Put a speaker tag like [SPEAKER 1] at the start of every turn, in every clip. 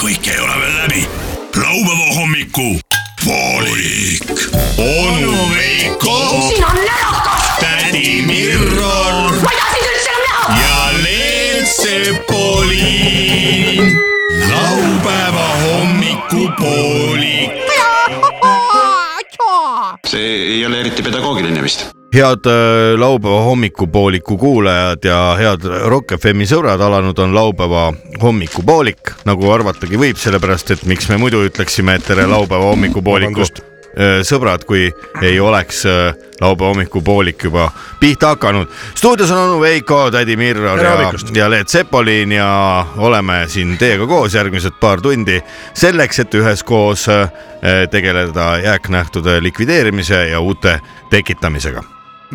[SPEAKER 1] kõik ei ole veel läbi . laupäeva hommiku poolik . onu Veiko ,
[SPEAKER 2] siin on närakas ,
[SPEAKER 1] tädi Mirro
[SPEAKER 2] ma ei taha sind üldse enam näha .
[SPEAKER 1] ja Leelsepoliin . laupäeva hommikupoolik .
[SPEAKER 3] see ei ole eriti pedagoogiline vist .
[SPEAKER 4] head äh, laupäeva hommikupooliku kuulajad ja head Rock FM-i sõbrad , alanud on laupäeva hommikupoolik , nagu arvatagi võib , sellepärast et miks me muidu ütleksime , et tere laupäeva hommikupoolikust , sõbrad , kui ei oleks äh, laupäeva hommikupoolik juba pihta hakanud . stuudios on onu Veiko , tädi Mirro
[SPEAKER 5] Tere
[SPEAKER 4] ja,
[SPEAKER 5] hommikust!
[SPEAKER 4] ja Leet Sepolin ja oleme siin teiega koos järgmised paar tundi selleks , et üheskoos äh, tegeleda jääknähtude likvideerimise ja uute tekitamisega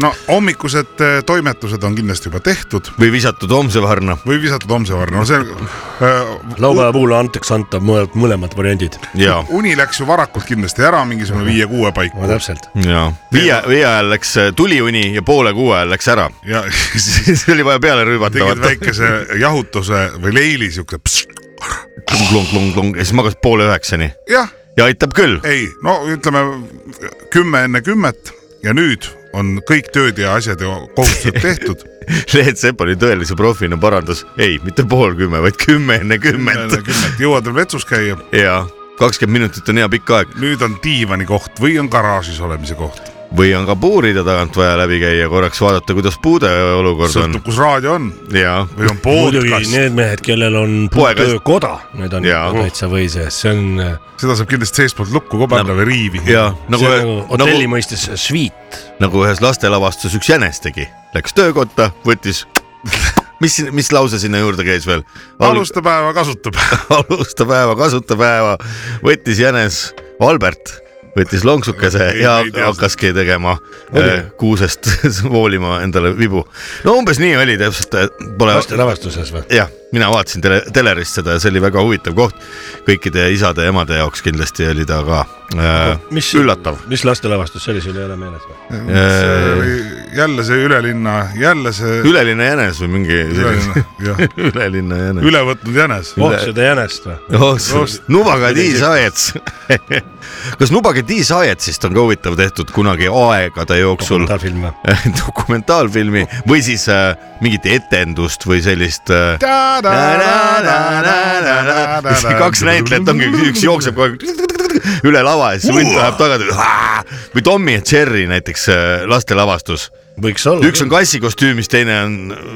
[SPEAKER 6] no hommikused eh, toimetused on kindlasti juba tehtud
[SPEAKER 4] või visatud homse varna .
[SPEAKER 6] või visatud homse varna , no see äh,
[SPEAKER 5] laupäeva puhul antaks antav mõlemad , mõlemad variandid .
[SPEAKER 4] ja ,
[SPEAKER 6] uni läks ju varakult kindlasti ära , mingisugune viie-kuue
[SPEAKER 5] no
[SPEAKER 6] paiku
[SPEAKER 5] täpselt .
[SPEAKER 4] ja viie , viie ajal läks , tuli uni ja poole kuu ajal läks ära .
[SPEAKER 6] ja siis
[SPEAKER 4] siis oli vaja peale rüübata ,
[SPEAKER 6] tegid
[SPEAKER 4] vaata .
[SPEAKER 6] väikese jahutuse või leili siukse .
[SPEAKER 4] klung-klung-klung-klung ja siis magas poole üheksani
[SPEAKER 6] jah ,
[SPEAKER 4] ja aitab küll .
[SPEAKER 6] ei , no ütleme kümme enne kümmet ja nüüd on kõik tööd ja asjad ja kohustused tehtud .
[SPEAKER 4] Leet Sepani tõelise profina parandas , ei , mitte pool kümme , vaid kümme enne kümmet
[SPEAKER 6] kümmet jõuad veel vetsus käia ,
[SPEAKER 4] ja kakskümmend minutit on hea pikk aeg
[SPEAKER 6] nüüd on diivani koht või on garaažis olemise koht ,
[SPEAKER 4] või on ka puuride tagant vaja läbi käia , korraks vaadata , kuidas puude olukord on
[SPEAKER 6] sõltub , kus raadio on
[SPEAKER 4] ja
[SPEAKER 6] või on
[SPEAKER 5] muidugi
[SPEAKER 6] podcast ,
[SPEAKER 5] need mehed , kellel on
[SPEAKER 4] Poega-
[SPEAKER 5] puutöökoda , need on
[SPEAKER 4] Jaa.
[SPEAKER 5] täitsa või sees , see on ,
[SPEAKER 6] seda saab kindlasti seestpoolt lukku ka panna või riivi .
[SPEAKER 4] ja
[SPEAKER 5] nagu,
[SPEAKER 4] nagu
[SPEAKER 5] see on nagu , hotelli
[SPEAKER 4] nagu,
[SPEAKER 5] nagu... mõistes sviit .
[SPEAKER 4] nagu ühes lastelavastuses üks jänes tegi , läks töökotta , võttis , mis , mis lause sinna juurde käis veel ?
[SPEAKER 6] alusta päeva , kasuta päeva .
[SPEAKER 4] alusta päeva , kasuta päeva , võttis jänes Albert , võttis lonksukese
[SPEAKER 6] Ei,
[SPEAKER 4] ja
[SPEAKER 6] ei tea seda.
[SPEAKER 4] hakkaski tegema eh, kuusest voolima endale vibu . no umbes nii oli täpselt , pole
[SPEAKER 5] lastelabastuses või ?
[SPEAKER 4] jah , mina vaatasin tele , telerist seda ja see oli väga huvitav koht . kõikide isade-emade jaoks kindlasti oli ta ka äh,
[SPEAKER 5] Mis-
[SPEAKER 4] üllatav .
[SPEAKER 5] mis lastelavastus see oli , sul ei ole meeles või ?
[SPEAKER 4] äh,
[SPEAKER 6] see oli jälle see ülelinna , jälle see
[SPEAKER 4] ülelinna jänes või mingi
[SPEAKER 6] ülelinna , jah ,
[SPEAKER 4] ülelinna jänes .
[SPEAKER 6] üle võtnud jänes .
[SPEAKER 5] oh seda jänest või ?
[SPEAKER 4] Just. Noh, nubaga diisaets . kas nubaga diisaetsist on ka huvitav tehtud kunagi aegade jooksul
[SPEAKER 5] dokumentaalfilm või ?
[SPEAKER 4] dokumentaalfilmi või siis äh, mingit etendust või sellist äh, . kaks
[SPEAKER 6] kaks
[SPEAKER 4] näitlejat ongi , üks jookseb kogu aeg üle lava ja siis mõnd läheb tagasi . või Tommy ja Cherry näiteks äh, lastelavastus ,
[SPEAKER 5] võiks olla .
[SPEAKER 4] üks on kassi kostüümis , teine on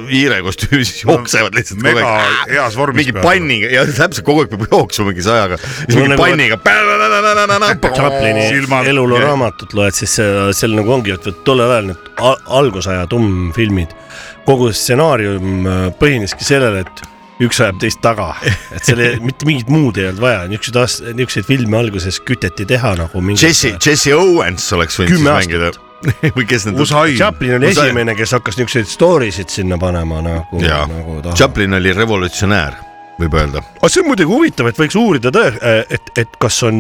[SPEAKER 4] hiire kostüümis , siis jooksevad lihtsalt kogu
[SPEAKER 6] mega
[SPEAKER 4] aeg
[SPEAKER 6] heas vormis .
[SPEAKER 4] mingi . panniga ja täpselt kogu aeg peab jooksma mingi sajaga , siis
[SPEAKER 5] Mul
[SPEAKER 4] mingi
[SPEAKER 5] nagu-
[SPEAKER 4] panniga . Äh,
[SPEAKER 5] Chaplini
[SPEAKER 6] Silmad-
[SPEAKER 5] eluloo
[SPEAKER 6] jah.
[SPEAKER 5] raamatut loed , siis see- seal nagu ongi , et vot tollel ajal need al- algusaja tummfilmid , kogu stsenaarium äh, põhineski sellele , et üks ajab teist taga , et selle mitte mingit muud ei olnud vaja , niisuguseid as- , niisuguseid filme alguses küteti teha nagu mingi .
[SPEAKER 4] Jesse , Jesse Owens oleks võinud siis
[SPEAKER 5] Kümme
[SPEAKER 4] mängida või kes need on ?
[SPEAKER 6] Usai ,
[SPEAKER 5] Chaplin oli
[SPEAKER 4] Usai-
[SPEAKER 5] esimene , kes hakkas niisuguseid story sid sinna panema nagu ,
[SPEAKER 4] jaa
[SPEAKER 5] nagu , taha .
[SPEAKER 4] Chaplin oli revolutsionäär , võib öelda .
[SPEAKER 5] aga see on muidugi huvitav , et võiks uurida tõe , et , et kas on ,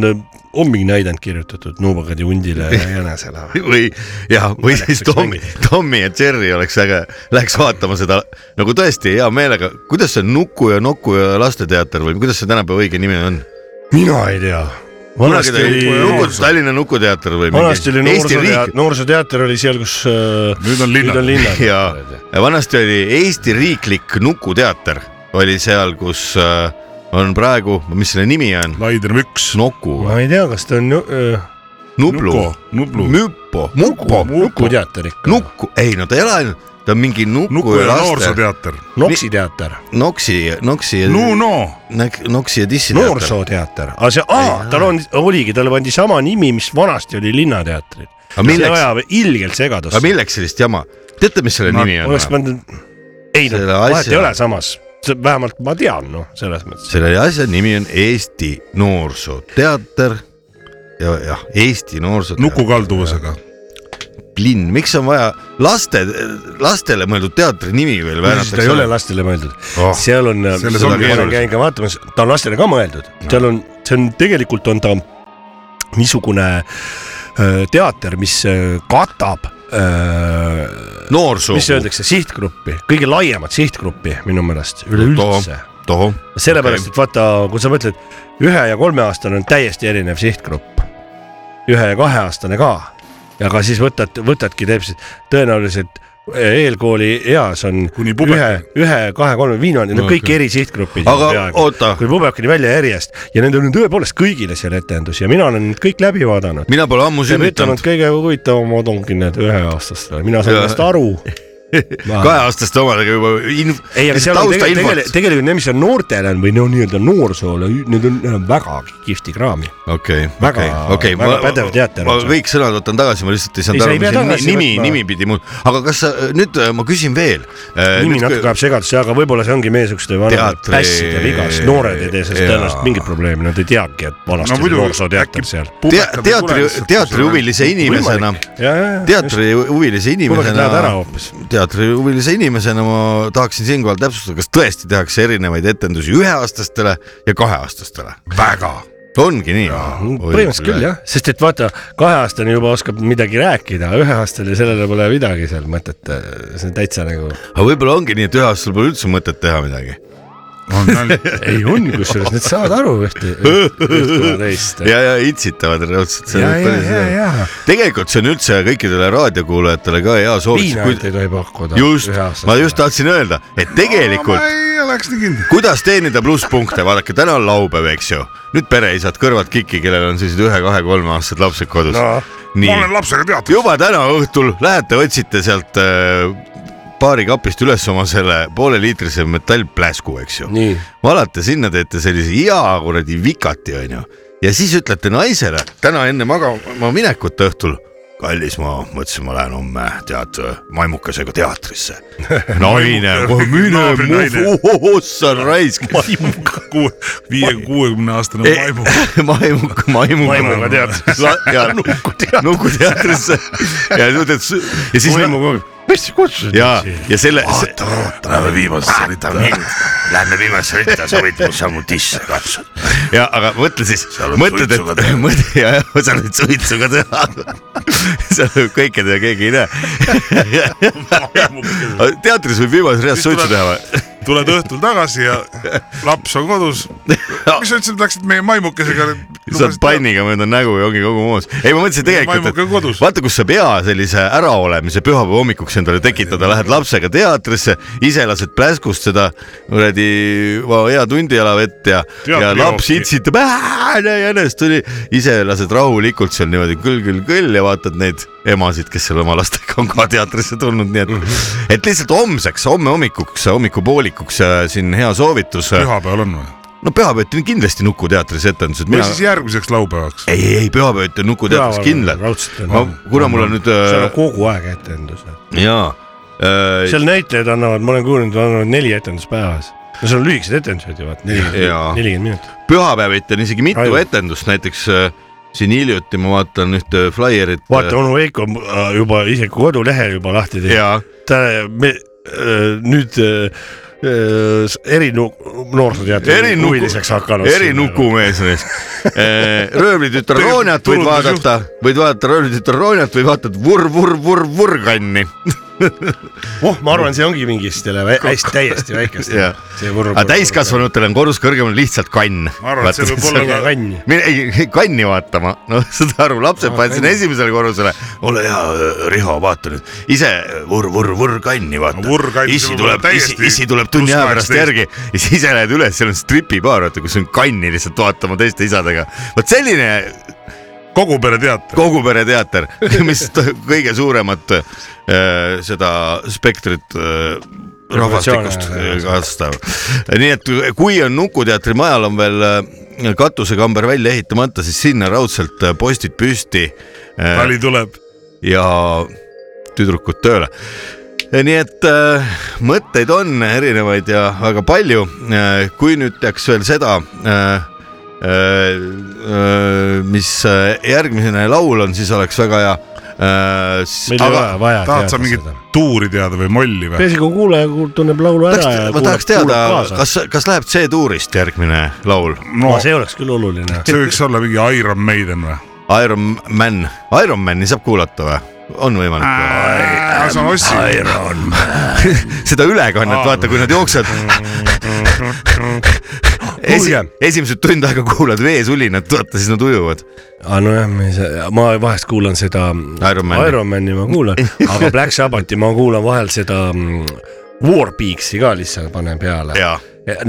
[SPEAKER 5] on mingi näidend kirjutatud Nubagadi hundile ja jänesele või ?
[SPEAKER 4] või jah , või siis
[SPEAKER 5] võiks
[SPEAKER 4] Tommy , Tommy ja Jerry oleks äge , läks vaatama seda nagu tõesti hea meelega , kuidas see Nuku ja Nuku ja lasteteater või kuidas see tänapäeva õige nimi on ?
[SPEAKER 5] mina ei tea . vanasti oli
[SPEAKER 4] Nuku ,, Tallinna Nukuteater või
[SPEAKER 5] vanasti oli
[SPEAKER 4] Eesti riik
[SPEAKER 5] noorsooteater ,, noorsooteater oli seal , kus äh,
[SPEAKER 6] Nüüd on linnad.
[SPEAKER 5] nüüd on linnad .
[SPEAKER 4] ja vanasti oli Eesti Riiklik Nukuteater oli seal , kus äh, on praegu , mis selle nimi on ?
[SPEAKER 6] Laidrim üks .
[SPEAKER 4] Noku või
[SPEAKER 5] ma ei tea , kas ta on äh,
[SPEAKER 4] Nublu ,
[SPEAKER 6] Nublu .
[SPEAKER 4] Müpo , Mupo ,
[SPEAKER 5] nukuteater ikka .
[SPEAKER 4] Nuku , ei no ta ei ole ainult , ta on mingi Nuku
[SPEAKER 6] Nuku
[SPEAKER 4] ja
[SPEAKER 6] ja
[SPEAKER 4] laste ,
[SPEAKER 6] noorsooteater .
[SPEAKER 5] noksiteater ,
[SPEAKER 4] Noksi , Noksi ja
[SPEAKER 6] Nuno ,
[SPEAKER 4] Näk- Noksi ja Dissiteater .
[SPEAKER 5] noorsooteater , aga see , aa , tal on , oligi , talle pandi sama nimi , mis vanasti oli Linnateatril .
[SPEAKER 4] aga
[SPEAKER 5] see
[SPEAKER 4] milleks ,
[SPEAKER 5] ajab ilgelt segadusse
[SPEAKER 4] aga . milleks sellist jama , teate , mis selle
[SPEAKER 6] Ma-
[SPEAKER 4] nimi
[SPEAKER 5] oleks
[SPEAKER 4] on ?
[SPEAKER 5] pannud , ei no
[SPEAKER 4] Selle
[SPEAKER 5] vahet ei
[SPEAKER 4] asja-
[SPEAKER 5] ole samas , vähemalt ma tean noh , selles mõttes .
[SPEAKER 4] selle asja nimi on Eesti Noorsooteater ja jah , Eesti Noorsooteater .
[SPEAKER 6] Nuku kalduvusega .
[SPEAKER 4] linn , miks on vaja laste , lastele mõeldud teatri nimi veel
[SPEAKER 5] ta ei ole
[SPEAKER 4] väänatakse ?
[SPEAKER 5] lastele mõeldud
[SPEAKER 4] Oh,
[SPEAKER 5] oh, , seal on ,
[SPEAKER 6] selles
[SPEAKER 4] ongi
[SPEAKER 5] ma olen
[SPEAKER 4] keerulisem.
[SPEAKER 5] käinud ka vaatamas , ta on lastele ka mõeldud no. , seal on , see on tegelikult on ta niisugune öö, teater , mis öö, katab äh, öö,
[SPEAKER 4] noorsoo .
[SPEAKER 5] mis öeldakse , sihtgruppi , kõige laiemat sihtgruppi minu meelest üleüldse .
[SPEAKER 4] tohoh ,
[SPEAKER 5] sellepärast , et vaata , kui sa mõtled , ühe ja kolmeaastane on täiesti erinev sihtgrupp . ühe ja kaheaastane ka . aga siis võtad , võtadki täpselt , tõenäoliselt e, eelkooli eas on
[SPEAKER 6] Kuni
[SPEAKER 5] ühe
[SPEAKER 6] puberteeni. ,
[SPEAKER 5] ühe , kahe , kolme , viimane , need on kõik
[SPEAKER 4] Okei.
[SPEAKER 5] eri sihtgrupid .
[SPEAKER 4] Aga oota.
[SPEAKER 5] kuni puberkini välja järjest ja nendel on tõepoolest kõigile see etendus ja mina olen need kõik läbi vaadanud .
[SPEAKER 4] mina pole ammu
[SPEAKER 5] ja ma ütlen , et
[SPEAKER 4] sünnitanud ,
[SPEAKER 5] kõige huvitavamad ongi need üheaastastele , mina saan
[SPEAKER 4] Ja-
[SPEAKER 5] sellest aru .
[SPEAKER 4] kaheaastaste omadega juba inf- ,
[SPEAKER 5] ei , aga seal on tegelikult ,
[SPEAKER 4] taustainfot .
[SPEAKER 5] tegelikult need , mis on noortele on või no nii-öelda noorsoole , need on need on väga kihvti kraami .
[SPEAKER 4] okei ,
[SPEAKER 5] Väga-
[SPEAKER 4] okei , okei .
[SPEAKER 5] väga pädev teater
[SPEAKER 4] ma
[SPEAKER 5] on see.
[SPEAKER 4] kõik sõnad võtan tagasi , ma lihtsalt ei
[SPEAKER 5] Ei,
[SPEAKER 4] saanud
[SPEAKER 5] sa
[SPEAKER 4] aru
[SPEAKER 5] ei , pea
[SPEAKER 4] mis
[SPEAKER 5] tagasi
[SPEAKER 4] nimi ,
[SPEAKER 5] võtma.
[SPEAKER 4] nimi pidi mul , aga kas sa nüüd äh, ma küsin veel . Äh,
[SPEAKER 5] nimi natuke ajab segadusse , aga võib-olla see ongi meie siukeste vanemate
[SPEAKER 4] Teatri-
[SPEAKER 5] pässide viga , sest noored ei tee sellest
[SPEAKER 4] jaa.
[SPEAKER 5] tõenäoliselt mingit probleemi , nad ei teagi , et vanasti
[SPEAKER 6] No
[SPEAKER 5] oli
[SPEAKER 6] muidu,
[SPEAKER 5] noorsooteater
[SPEAKER 6] äkki-
[SPEAKER 5] seal .
[SPEAKER 4] teatri , teatrihuvilise inimesena , teatrihuvilise
[SPEAKER 5] kunagi lähed ära
[SPEAKER 4] inimesena ,
[SPEAKER 5] hoopis .
[SPEAKER 4] teatrihuvilise inimesena ma tahaksin siinkohal täpsustada , kas tõesti tehakse erinevaid etendusi üheaastastele ja kaheaastastele ? väga . ongi nii ?
[SPEAKER 5] põhimõtteliselt küll . jah , sest et vaata , kaheaastane juba oskab midagi rääkida , üheaastane , sellele pole midagi seal mõtet , see on täitsa nagu ,
[SPEAKER 4] aga võib-olla ongi nii , et üheaastasel pole üldse mõtet teha midagi .
[SPEAKER 5] ei on kusjuures , nad saavad aru ühte , üht koma teist .
[SPEAKER 4] ja , ja itsitavad raudselt .
[SPEAKER 5] ja , ja , ja , ja .
[SPEAKER 4] tegelikult see on üldse kõikidele raadiokuulajatele ka hea soovitus .
[SPEAKER 5] viina ei tohi pakkuda .
[SPEAKER 4] just , ma just tahtsin öelda , et
[SPEAKER 5] Oh
[SPEAKER 4] tegelikult
[SPEAKER 6] ma ei oleks nii kindel .
[SPEAKER 4] kuidas teenida plusspunkte , vaadake , täna on laupäev , eks ju . nüüd pereisad kõrvad kikki , kellel on sellised ühe-kahe-kolmeaastased lapsed kodus no. .
[SPEAKER 6] ma
[SPEAKER 4] nii ,
[SPEAKER 6] olen lapsega teatud .
[SPEAKER 4] juba täna õhtul lähete otsite sealt äh, baarikapist üles oma selle pooleliitrise metallpläsku , eks ju .
[SPEAKER 5] nii ,
[SPEAKER 4] valate sinna , teete sellise hea kuradi vikati , onju . ja siis ütlete naisele täna enne magama minekut õhtul . kallis , ma mõtlesin , ma lähen homme tead maimukesega teatrisse . naine , mine
[SPEAKER 6] Naabri naine.
[SPEAKER 4] mu ossa raisk .
[SPEAKER 6] viie , kuuekümne aastane maimu .
[SPEAKER 4] maimuk , maimuga .
[SPEAKER 5] Maimuga teatris.
[SPEAKER 4] nukuteatrisse . nukuteatrisse ja nüüd , et ja siis .
[SPEAKER 5] mis kutsusid
[SPEAKER 4] ja , ja selle . oota ,
[SPEAKER 6] Lähme viimasesse ritta .
[SPEAKER 4] Lähme viimasse ritta , sa võid mu sammutisse katsuda . ja , aga mõtle siis , mõtled , et mõtle ja , ja sa oled suitsuga teha . seal võib kõike teha , keegi ei näe . teatris võib viimases reas
[SPEAKER 6] Siis tuleb-
[SPEAKER 4] suitsu teha või ?
[SPEAKER 6] tuled õhtul tagasi ja laps on kodus . miks sa ütlesid , et läksid meie maimukesega ?
[SPEAKER 4] saad . panniga mööda nägu ja ongi kogu moos . ei , ma mõtlesin tegelikult ,
[SPEAKER 6] maimuke on kodus.
[SPEAKER 4] et vaata , kus sa pea sellise äraolemise pühapäeva hommikuks endale tekitada , lähed lapsega teatrisse , ise lased pläskust seda kuradi va- hea tundijala vett ja , ja
[SPEAKER 6] Teatrijooki.
[SPEAKER 4] laps itsitab , näe jänes tuli , ise lased rahulikult seal niimoodi kõll-kõll-kõll ja vaatad neid emasid , kes seal oma lastega on ka teatrisse tulnud , nii et , et lihtsalt homseks , homme hommikuks , hommikupoolikuks äh, siin hea soovitus .
[SPEAKER 6] pühapäeval on või ?
[SPEAKER 4] no pühapäeviti on kindlasti Nuku teatris etendused .
[SPEAKER 6] või siis järgmiseks laupäevaks ?
[SPEAKER 4] ei , ei , ei pühapäeviti on Nuku teatris kindlalt .
[SPEAKER 5] raudselt on
[SPEAKER 4] ma
[SPEAKER 5] no, ,
[SPEAKER 4] kuna mul on nüüd
[SPEAKER 5] seal
[SPEAKER 4] äh,
[SPEAKER 5] on kogu aeg etendus .
[SPEAKER 4] jaa äh, ,
[SPEAKER 5] seal näitlejad annavad , ma olen kuulnud , annavad neli etendust päevas . no seal on lühikesed etendused ju vaata ,
[SPEAKER 4] Jaa.
[SPEAKER 5] nelikümmend , nelikümmend minutit .
[SPEAKER 4] pühapäeviti on isegi mitu
[SPEAKER 5] Raivo.
[SPEAKER 4] etendust , näiteks äh, siin hiljuti ma vaatan ühte flaierit .
[SPEAKER 5] vaata , onu Veiko on, äh, juba isegi kodulehe juba lahti teinud .
[SPEAKER 4] jaa ,
[SPEAKER 5] ta , me äh, nüüd äh, äh, erinoorsooteatri
[SPEAKER 4] Erinuku-
[SPEAKER 5] huviliseks hakanud .
[SPEAKER 4] erinukumees on ees . röövlitütar Rooniat Äh, võid
[SPEAKER 6] turundusjuht.
[SPEAKER 4] vaadata , võid vaadata röövlitütar Rooniat või vaatad vurr-vurr-vurr-vurrkanni .
[SPEAKER 5] oh , ma arvan , see ongi mingistele vä- hästi täiesti väikestele
[SPEAKER 4] Jaa. . aga . täiskasvanutel on korrus kõrgemal lihtsalt kann .
[SPEAKER 6] Ma arvan, et see võib olla
[SPEAKER 5] minge kanni .
[SPEAKER 4] mine ei, kanni vaatama , noh , saad aru , lapsed paned sinna esimesele korrusele . ole hea , Riho , vaata nüüd , ise äh, vurr , vurr , vurr kanni
[SPEAKER 6] No vurr
[SPEAKER 4] vaata .
[SPEAKER 6] kanni,
[SPEAKER 4] issi
[SPEAKER 6] see
[SPEAKER 4] tuleb
[SPEAKER 6] võib , olla
[SPEAKER 4] issi ,
[SPEAKER 6] täiesti
[SPEAKER 4] issi tuleb tunni aja
[SPEAKER 6] pluss
[SPEAKER 4] pärast
[SPEAKER 6] 18.
[SPEAKER 4] järgi ja siis ise lähed üles , seal on stripibaar , vaata , kus on kanni lihtsalt vaatama teiste isadega . vot selline
[SPEAKER 6] kogu pere teater .
[SPEAKER 4] kogu pere teater , mis t- kõige suuremat äh, seda spektrit äh, rahvastikust
[SPEAKER 5] Populatsioone-
[SPEAKER 4] kastab . nii et kui on Nukuteatri majal on veel äh, katusekamber välja ehitamata , siis sinna raudselt äh, postid püsti äh,
[SPEAKER 6] tali tuleb .
[SPEAKER 4] ja tüdrukud tööle . nii et äh, mõtteid on erinevaid ja väga palju . kui nüüd teaks veel seda , mis äh, järgmine laul on , siis oleks väga hea .
[SPEAKER 5] meil ei
[SPEAKER 4] aga
[SPEAKER 5] ole vaja
[SPEAKER 6] tahad sa mingit tuuri teada või molli või ?
[SPEAKER 5] peaasi , kui kuulaja kuul- tunneb laulu ära
[SPEAKER 4] tahaks
[SPEAKER 5] ja ,
[SPEAKER 4] ma tahaks
[SPEAKER 5] kuulab
[SPEAKER 4] teada ,
[SPEAKER 5] kaasa.
[SPEAKER 4] kas , kas läheb C-tuurist järgmine laul ?
[SPEAKER 6] no
[SPEAKER 5] no, . see oleks küll oluline .
[SPEAKER 6] see võiks olla mingi Iron Maiden või ?
[SPEAKER 4] Iron Man , Iron Mani saab kuulata või ? on võimalik ?
[SPEAKER 6] sa ostsid .
[SPEAKER 4] seda ülekannet , vaata , kui nad jooksevad
[SPEAKER 5] kuulge ,
[SPEAKER 4] esimesed tund aega kuulad veesulinat , vaata siis nad ujuvad .
[SPEAKER 5] aga Ah, nojah , ma ei saa , ma vahest kuulan seda
[SPEAKER 4] Ironmani.
[SPEAKER 5] Ironmani ma kuulan , aga Black Sabbathi ma kuulan vahel seda mm, Warbeaksi ka lihtsalt panen peale
[SPEAKER 4] Jaa. .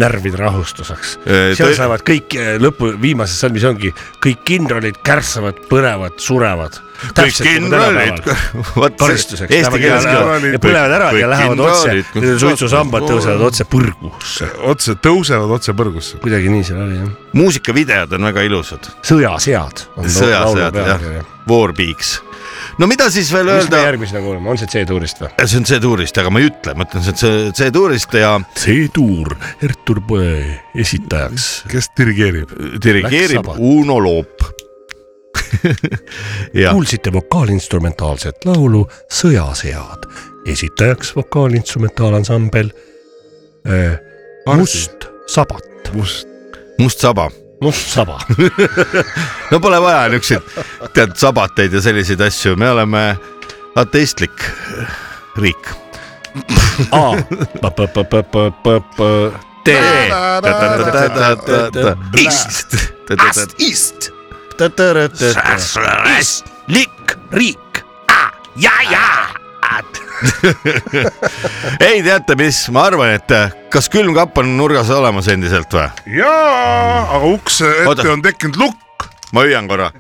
[SPEAKER 5] närvide rahustuseks
[SPEAKER 4] Eh, .
[SPEAKER 5] seal
[SPEAKER 4] tõ-
[SPEAKER 5] saavad kõik eh, lõpu , viimases salmis ongi kõik kindralid kärssavad , põlevad , surevad .
[SPEAKER 4] kõik kindralid , vot
[SPEAKER 5] karistuseks .
[SPEAKER 4] eesti keeles ka .
[SPEAKER 6] kindralid,
[SPEAKER 5] põlevad ära
[SPEAKER 4] kõik
[SPEAKER 5] ja lähevad otse
[SPEAKER 4] kindralid, kõik ,
[SPEAKER 5] suitsusambad tõusevad otse põrgusse .
[SPEAKER 6] otse tõusevad otse põrgusse .
[SPEAKER 5] kuidagi nii seal oli jah .
[SPEAKER 4] muusikavideod on väga ilusad ,
[SPEAKER 5] sõjasead .
[SPEAKER 4] sõjasead jah , Warbeaks . no mida siis veel
[SPEAKER 5] mis me
[SPEAKER 4] öelda ,
[SPEAKER 5] järgmisena kuuleme , on see C-tuurist või ?
[SPEAKER 4] see on C-tuurist , aga ma ei ütle , ma ütlen , see on C- C-tuurist ja
[SPEAKER 5] C-tuur , Ertur Poe esitajaks .
[SPEAKER 6] kes dirigeerib ?
[SPEAKER 5] Läks
[SPEAKER 4] dirigeerib
[SPEAKER 5] sabad.
[SPEAKER 4] Uno Loop . jah ,
[SPEAKER 5] kuulsite vokaalinstrumentaalset laulu Sõjasead , esitajaks vokaalinstrumentaalansambel äh, Must Sabat .
[SPEAKER 6] must ,
[SPEAKER 4] Must Saba
[SPEAKER 5] Must Saba .
[SPEAKER 4] no pole vaja niisuguseid , tead , sabateid ja selliseid asju , me oleme ateistlik riik .
[SPEAKER 5] tee .
[SPEAKER 4] Ist .
[SPEAKER 5] lik , riik .
[SPEAKER 4] ei teate , mis , ma arvan , et kas külmkapp on nurgas olemas endiselt või ?
[SPEAKER 6] jaa , aga uks
[SPEAKER 4] Oota.
[SPEAKER 6] ette on tekkinud lukk
[SPEAKER 4] ma hüüan korra .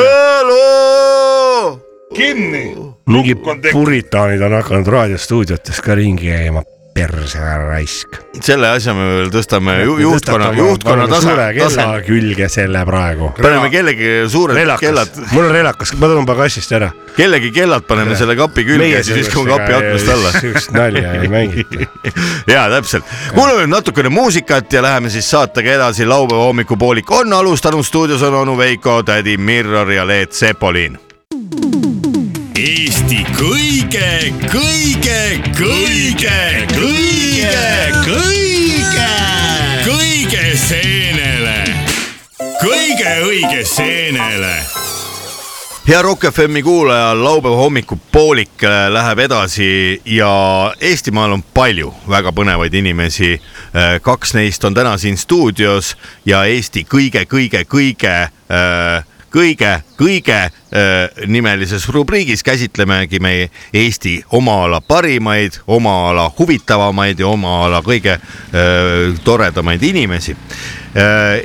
[SPEAKER 4] Õlu .
[SPEAKER 6] kinni .
[SPEAKER 5] mingi puritaanid on hakanud raadiostuudiotes ka ringi käima , perse ära raisk .
[SPEAKER 4] selle asja me veel tõstame ju- juhtkonna , juhtkonna tasa ,
[SPEAKER 5] nagu kella
[SPEAKER 4] tasa .
[SPEAKER 5] külge selle praegu .
[SPEAKER 4] paneme kellegi suured
[SPEAKER 5] relakas
[SPEAKER 4] kellad ,,
[SPEAKER 5] mul on relakas , ma tõmban pagassist ära .
[SPEAKER 4] kellegi kellad paneme selle kapi külge ja siis viskame kapi aknast alla .
[SPEAKER 5] sihukest nalja ei mängita .
[SPEAKER 4] ja täpselt , kuulame nüüd natukene muusikat ja läheme siis saatega edasi , laupäeva hommikupoolik on alustanud , stuudios on onu Veiko , tädi Mirror ja Leet Sepolin .
[SPEAKER 1] Eesti kõige , kõige , kõige , kõige , kõige , kõige seenele , kõige õige seenele
[SPEAKER 4] hea Rock FM-i kuulaja , laupäeva hommikupoolik äh, läheb edasi ja Eestimaal on palju väga põnevaid inimesi . kaks neist on täna siin stuudios ja Eesti kõige-kõige-kõige , kõige-kõige äh, nimelises rubriigis käsitlemegi me Eesti oma ala parimaid , oma ala huvitavamaid ja oma ala kõige äh, toredamaid inimesi Äh,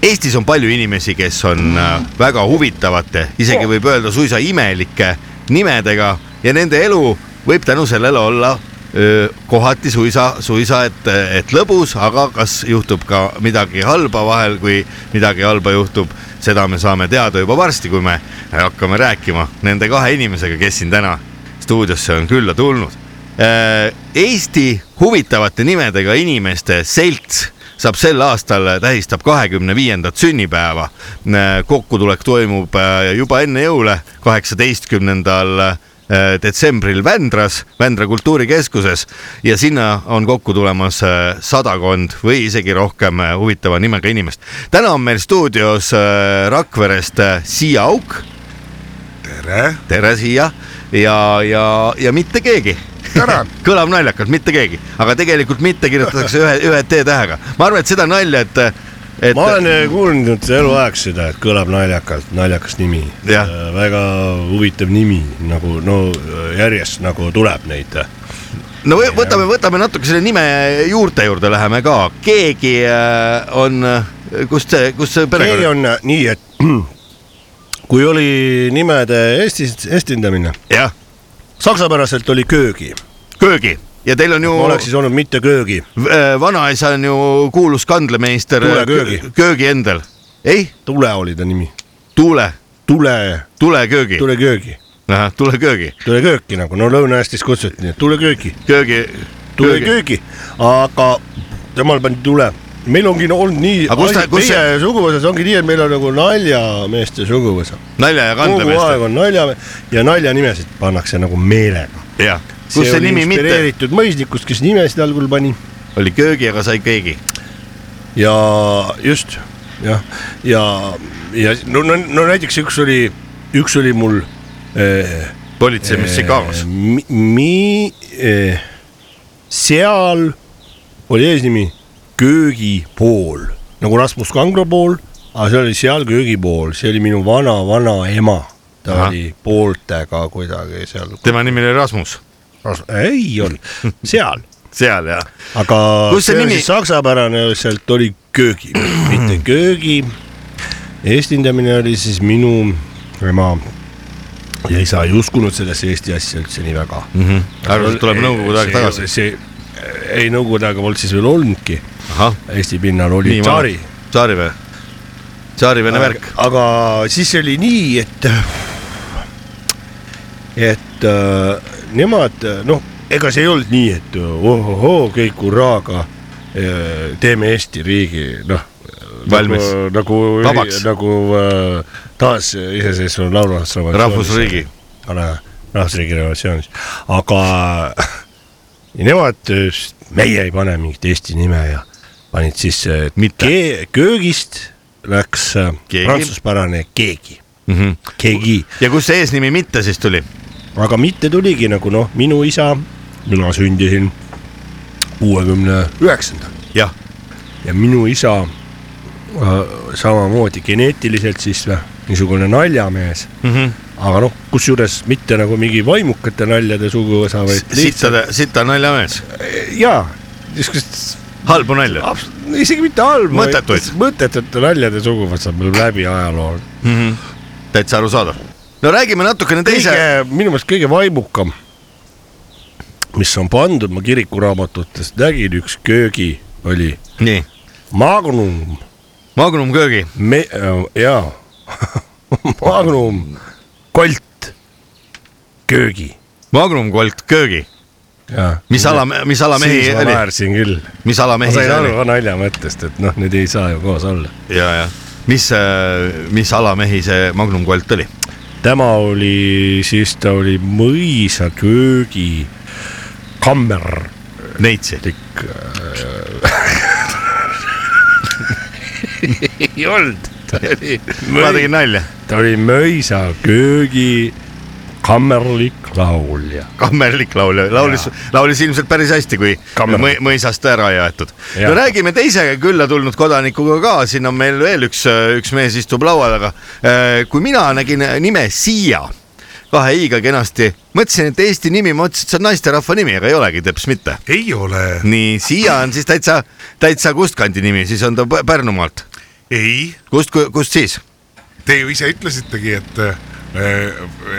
[SPEAKER 4] Eestis on palju inimesi , kes on äh, väga huvitavate , isegi võib öelda suisa imelike nimedega ja nende elu võib tänu sellele olla öö, kohati suisa , suisa , et , et lõbus , aga kas juhtub ka midagi halba vahel , kui midagi halba juhtub , seda me saame teada juba varsti , kui me hakkame rääkima nende kahe inimesega , kes siin täna stuudiosse on külla tulnud . Äh, Eesti huvitavate nimedega inimeste selts saab sel aastal , tähistab kahekümne viiendat sünnipäeva . kokkutulek toimub äh, juba enne jõule , kaheksateistkümnendal äh, detsembril Vändras , Vändra kultuurikeskuses ja sinna on kokku tulemas äh, sadakond või isegi rohkem äh, huvitava nimega inimest . täna on meil stuudios äh, Rakverest äh, Siia Auk ,
[SPEAKER 6] tere ,
[SPEAKER 4] tere Siia ja , ja , ja mitte keegi
[SPEAKER 6] tänan .
[SPEAKER 4] kõlab naljakalt , mitte keegi , aga tegelikult mitte kirjutatakse ühe , ühe T-tähega . ma arvan , et seda nalja , et , et
[SPEAKER 5] ma olen eh, kuulnud eluaeg seda , et kõlab naljakalt , naljakas nimi .
[SPEAKER 4] Jah.
[SPEAKER 5] väga huvitav nimi nagu no järjest nagu tuleb neid .
[SPEAKER 4] no võ- võtame , võtame natuke selle nime juurte juurde läheme ka , keegi äh, on , kust see , kust see
[SPEAKER 5] keegi
[SPEAKER 4] perekond on... ,
[SPEAKER 5] on nii , et kui oli nimede Eestis , eestindamine ,
[SPEAKER 4] jah ,
[SPEAKER 5] saksapäraselt oli köögi ,
[SPEAKER 4] köögi ja teil on ju
[SPEAKER 5] oleks siis olnud mitte köögi
[SPEAKER 4] äh, vanaisa on ju kuulus kandlemeister .
[SPEAKER 5] Tuule Köögi.
[SPEAKER 4] köögi endal , ei ,
[SPEAKER 5] Tule oli ta nimi ,
[SPEAKER 4] Tuule ,
[SPEAKER 5] Tule ,
[SPEAKER 4] Tuule Köögi ,
[SPEAKER 5] Tule köögi ,
[SPEAKER 4] ahah , Tuule Köögi ,
[SPEAKER 5] Tule kööki nagu , no Lõuna-Eestis kutsuti nii , et Tule kööki ,
[SPEAKER 4] köögi ,
[SPEAKER 5] Tule köögi , aga temal pandi Tule . meil ongi no, olnud nii ,
[SPEAKER 4] Aga kus ta- kus
[SPEAKER 5] meie suguvõsas ongi nii , et meil on nagu naljameeste suguvõsa .
[SPEAKER 4] nalja ja
[SPEAKER 5] kogu
[SPEAKER 4] kandlemeister ,
[SPEAKER 5] aeg on naljamees ja naljanimesid pannakse nagu meelega .
[SPEAKER 4] jah , kus see
[SPEAKER 5] oli
[SPEAKER 4] nimi mitte ,
[SPEAKER 5] inspireeritud mõisnikust , kes nimesid algul pani
[SPEAKER 4] oli köögi , aga sai keegi
[SPEAKER 5] ja just jah , ja , ja no, no , no näiteks üks oli , üks oli mul eh,
[SPEAKER 4] politseimees Chicagos .
[SPEAKER 5] mi, mi, eh, seal oli eesnimi köögipool nagu Rasmus Kangro pool , aga see oli seal köögipool , see oli minu vana-vanaema . ta
[SPEAKER 4] Ahah.
[SPEAKER 5] Aha. oli pooltega kuidagi seal ,
[SPEAKER 4] tema nimi oli Rasmus ,
[SPEAKER 5] ei olnud , seal ,
[SPEAKER 4] seal jah .
[SPEAKER 5] aga
[SPEAKER 4] Kus see
[SPEAKER 5] see oli
[SPEAKER 4] nimi-
[SPEAKER 5] siis saksapärane , sealt oli köögi , mitte köögi . eestindamine oli siis minu ema ja isa ei uskunud sellesse Eesti asja üldse nii väga mm . -hmm.
[SPEAKER 4] arvas , et tuleb Nõukogude aeg tagasi .
[SPEAKER 5] see , ei Nõukogude aega polnud siis veel olnudki ,
[SPEAKER 4] ahah ,
[SPEAKER 5] Eesti pinnal oli
[SPEAKER 4] nii
[SPEAKER 5] tsaari .
[SPEAKER 4] tsaari või ? tsaarivene värk ,
[SPEAKER 5] aga siis oli nii , et , et äh, nemad noh , ega see ei olnud nii , et ohohoo , kõik hurraaga äh, teeme Eesti riigi , noh .
[SPEAKER 4] Valmis.
[SPEAKER 5] nagu , nagu,
[SPEAKER 4] Vabaks.
[SPEAKER 5] nagu äh, taasiseseisvunud laulvas .
[SPEAKER 4] rahvusriigi .
[SPEAKER 5] Kana- rahvusriigi revolutsioonis , aga ja nemad , meie ei pane mingit Eesti nime ja panid sisse , et
[SPEAKER 4] Mitte.
[SPEAKER 5] kee- köögist läks äh,
[SPEAKER 4] Keegi. Mhm.
[SPEAKER 5] prantsuspärane keegi mm , -hmm. keegi ,
[SPEAKER 4] ja kust see eesnimi mitte siis tuli ?
[SPEAKER 5] aga mitte tuligi nagu noh , minu isa , mina sündisin kuuekümne üheksandal
[SPEAKER 4] jah ,
[SPEAKER 5] ja minu isa äh, samamoodi geneetiliselt siis äh, niisugune naljamees mm . -hmm. aga noh , kusjuures mitte nagu mingi vaimukate naljade suguvõsa , vaid lihtsalt
[SPEAKER 4] sittade , sita naljamees ,
[SPEAKER 5] jaa , niisugust
[SPEAKER 4] halbu nalja .
[SPEAKER 5] abs- isegi mitte halba ,
[SPEAKER 4] Mõttetuid.
[SPEAKER 5] mõttetute naljade suguvõsa meil läbi ajaloo .
[SPEAKER 4] täitsa arusaadav . no räägime natukene teise .
[SPEAKER 5] kõige , minu meelest kõige vaimukam , mis on pandud , ma kirikuraamatutest nägin , üks köögi oli
[SPEAKER 4] nii ,
[SPEAKER 5] Magnum
[SPEAKER 4] Magnum köögi ,
[SPEAKER 5] me , jaa , Magnum , Kolt , köögi .
[SPEAKER 4] Magnum Colt köögi , mis ala , mis ala mehi
[SPEAKER 5] siis ma
[SPEAKER 4] oli ,
[SPEAKER 5] naersin küll .
[SPEAKER 4] mis ala
[SPEAKER 5] ma
[SPEAKER 4] mehi
[SPEAKER 5] sain
[SPEAKER 4] see
[SPEAKER 5] aru
[SPEAKER 4] oli ?
[SPEAKER 5] ka nalja mõttest , et noh , need ei saa ju koos olla .
[SPEAKER 4] ja , ja mis , mis ala mehi see Magnum Colt oli ?
[SPEAKER 5] tema oli , siis ta oli mõisa köögi kammerlik
[SPEAKER 4] Neitsi ,
[SPEAKER 5] äh... . ei olnud , ta oli ,
[SPEAKER 4] ma tegin nalja ,
[SPEAKER 5] ta oli mõisa köögi kammerlik laulja .
[SPEAKER 4] kammerlik laulja , laulis , laulis ilmselt päris hästi , kui
[SPEAKER 5] Kammerlik.
[SPEAKER 4] mõ- mõisast ära jäetud .
[SPEAKER 5] Jah.
[SPEAKER 4] no räägime teise külla tulnud kodanikuga ka , siin on meil veel üks , üks mees istub laua taga . kui mina nägin äh, nime Siia , kahe i-ga kenasti , mõtlesin , et Eesti nimi , ma mõtlesin , et see on naisterahva nimi , aga ei olegi teps mitte .
[SPEAKER 6] ei ole .
[SPEAKER 4] nii , Siia on siis täitsa , täitsa kustkandi nimi , siis on ta Pä- Pärnumaalt .
[SPEAKER 6] ei ,
[SPEAKER 4] kust , kust siis ?
[SPEAKER 6] te ju ise ütlesitegi , et äh,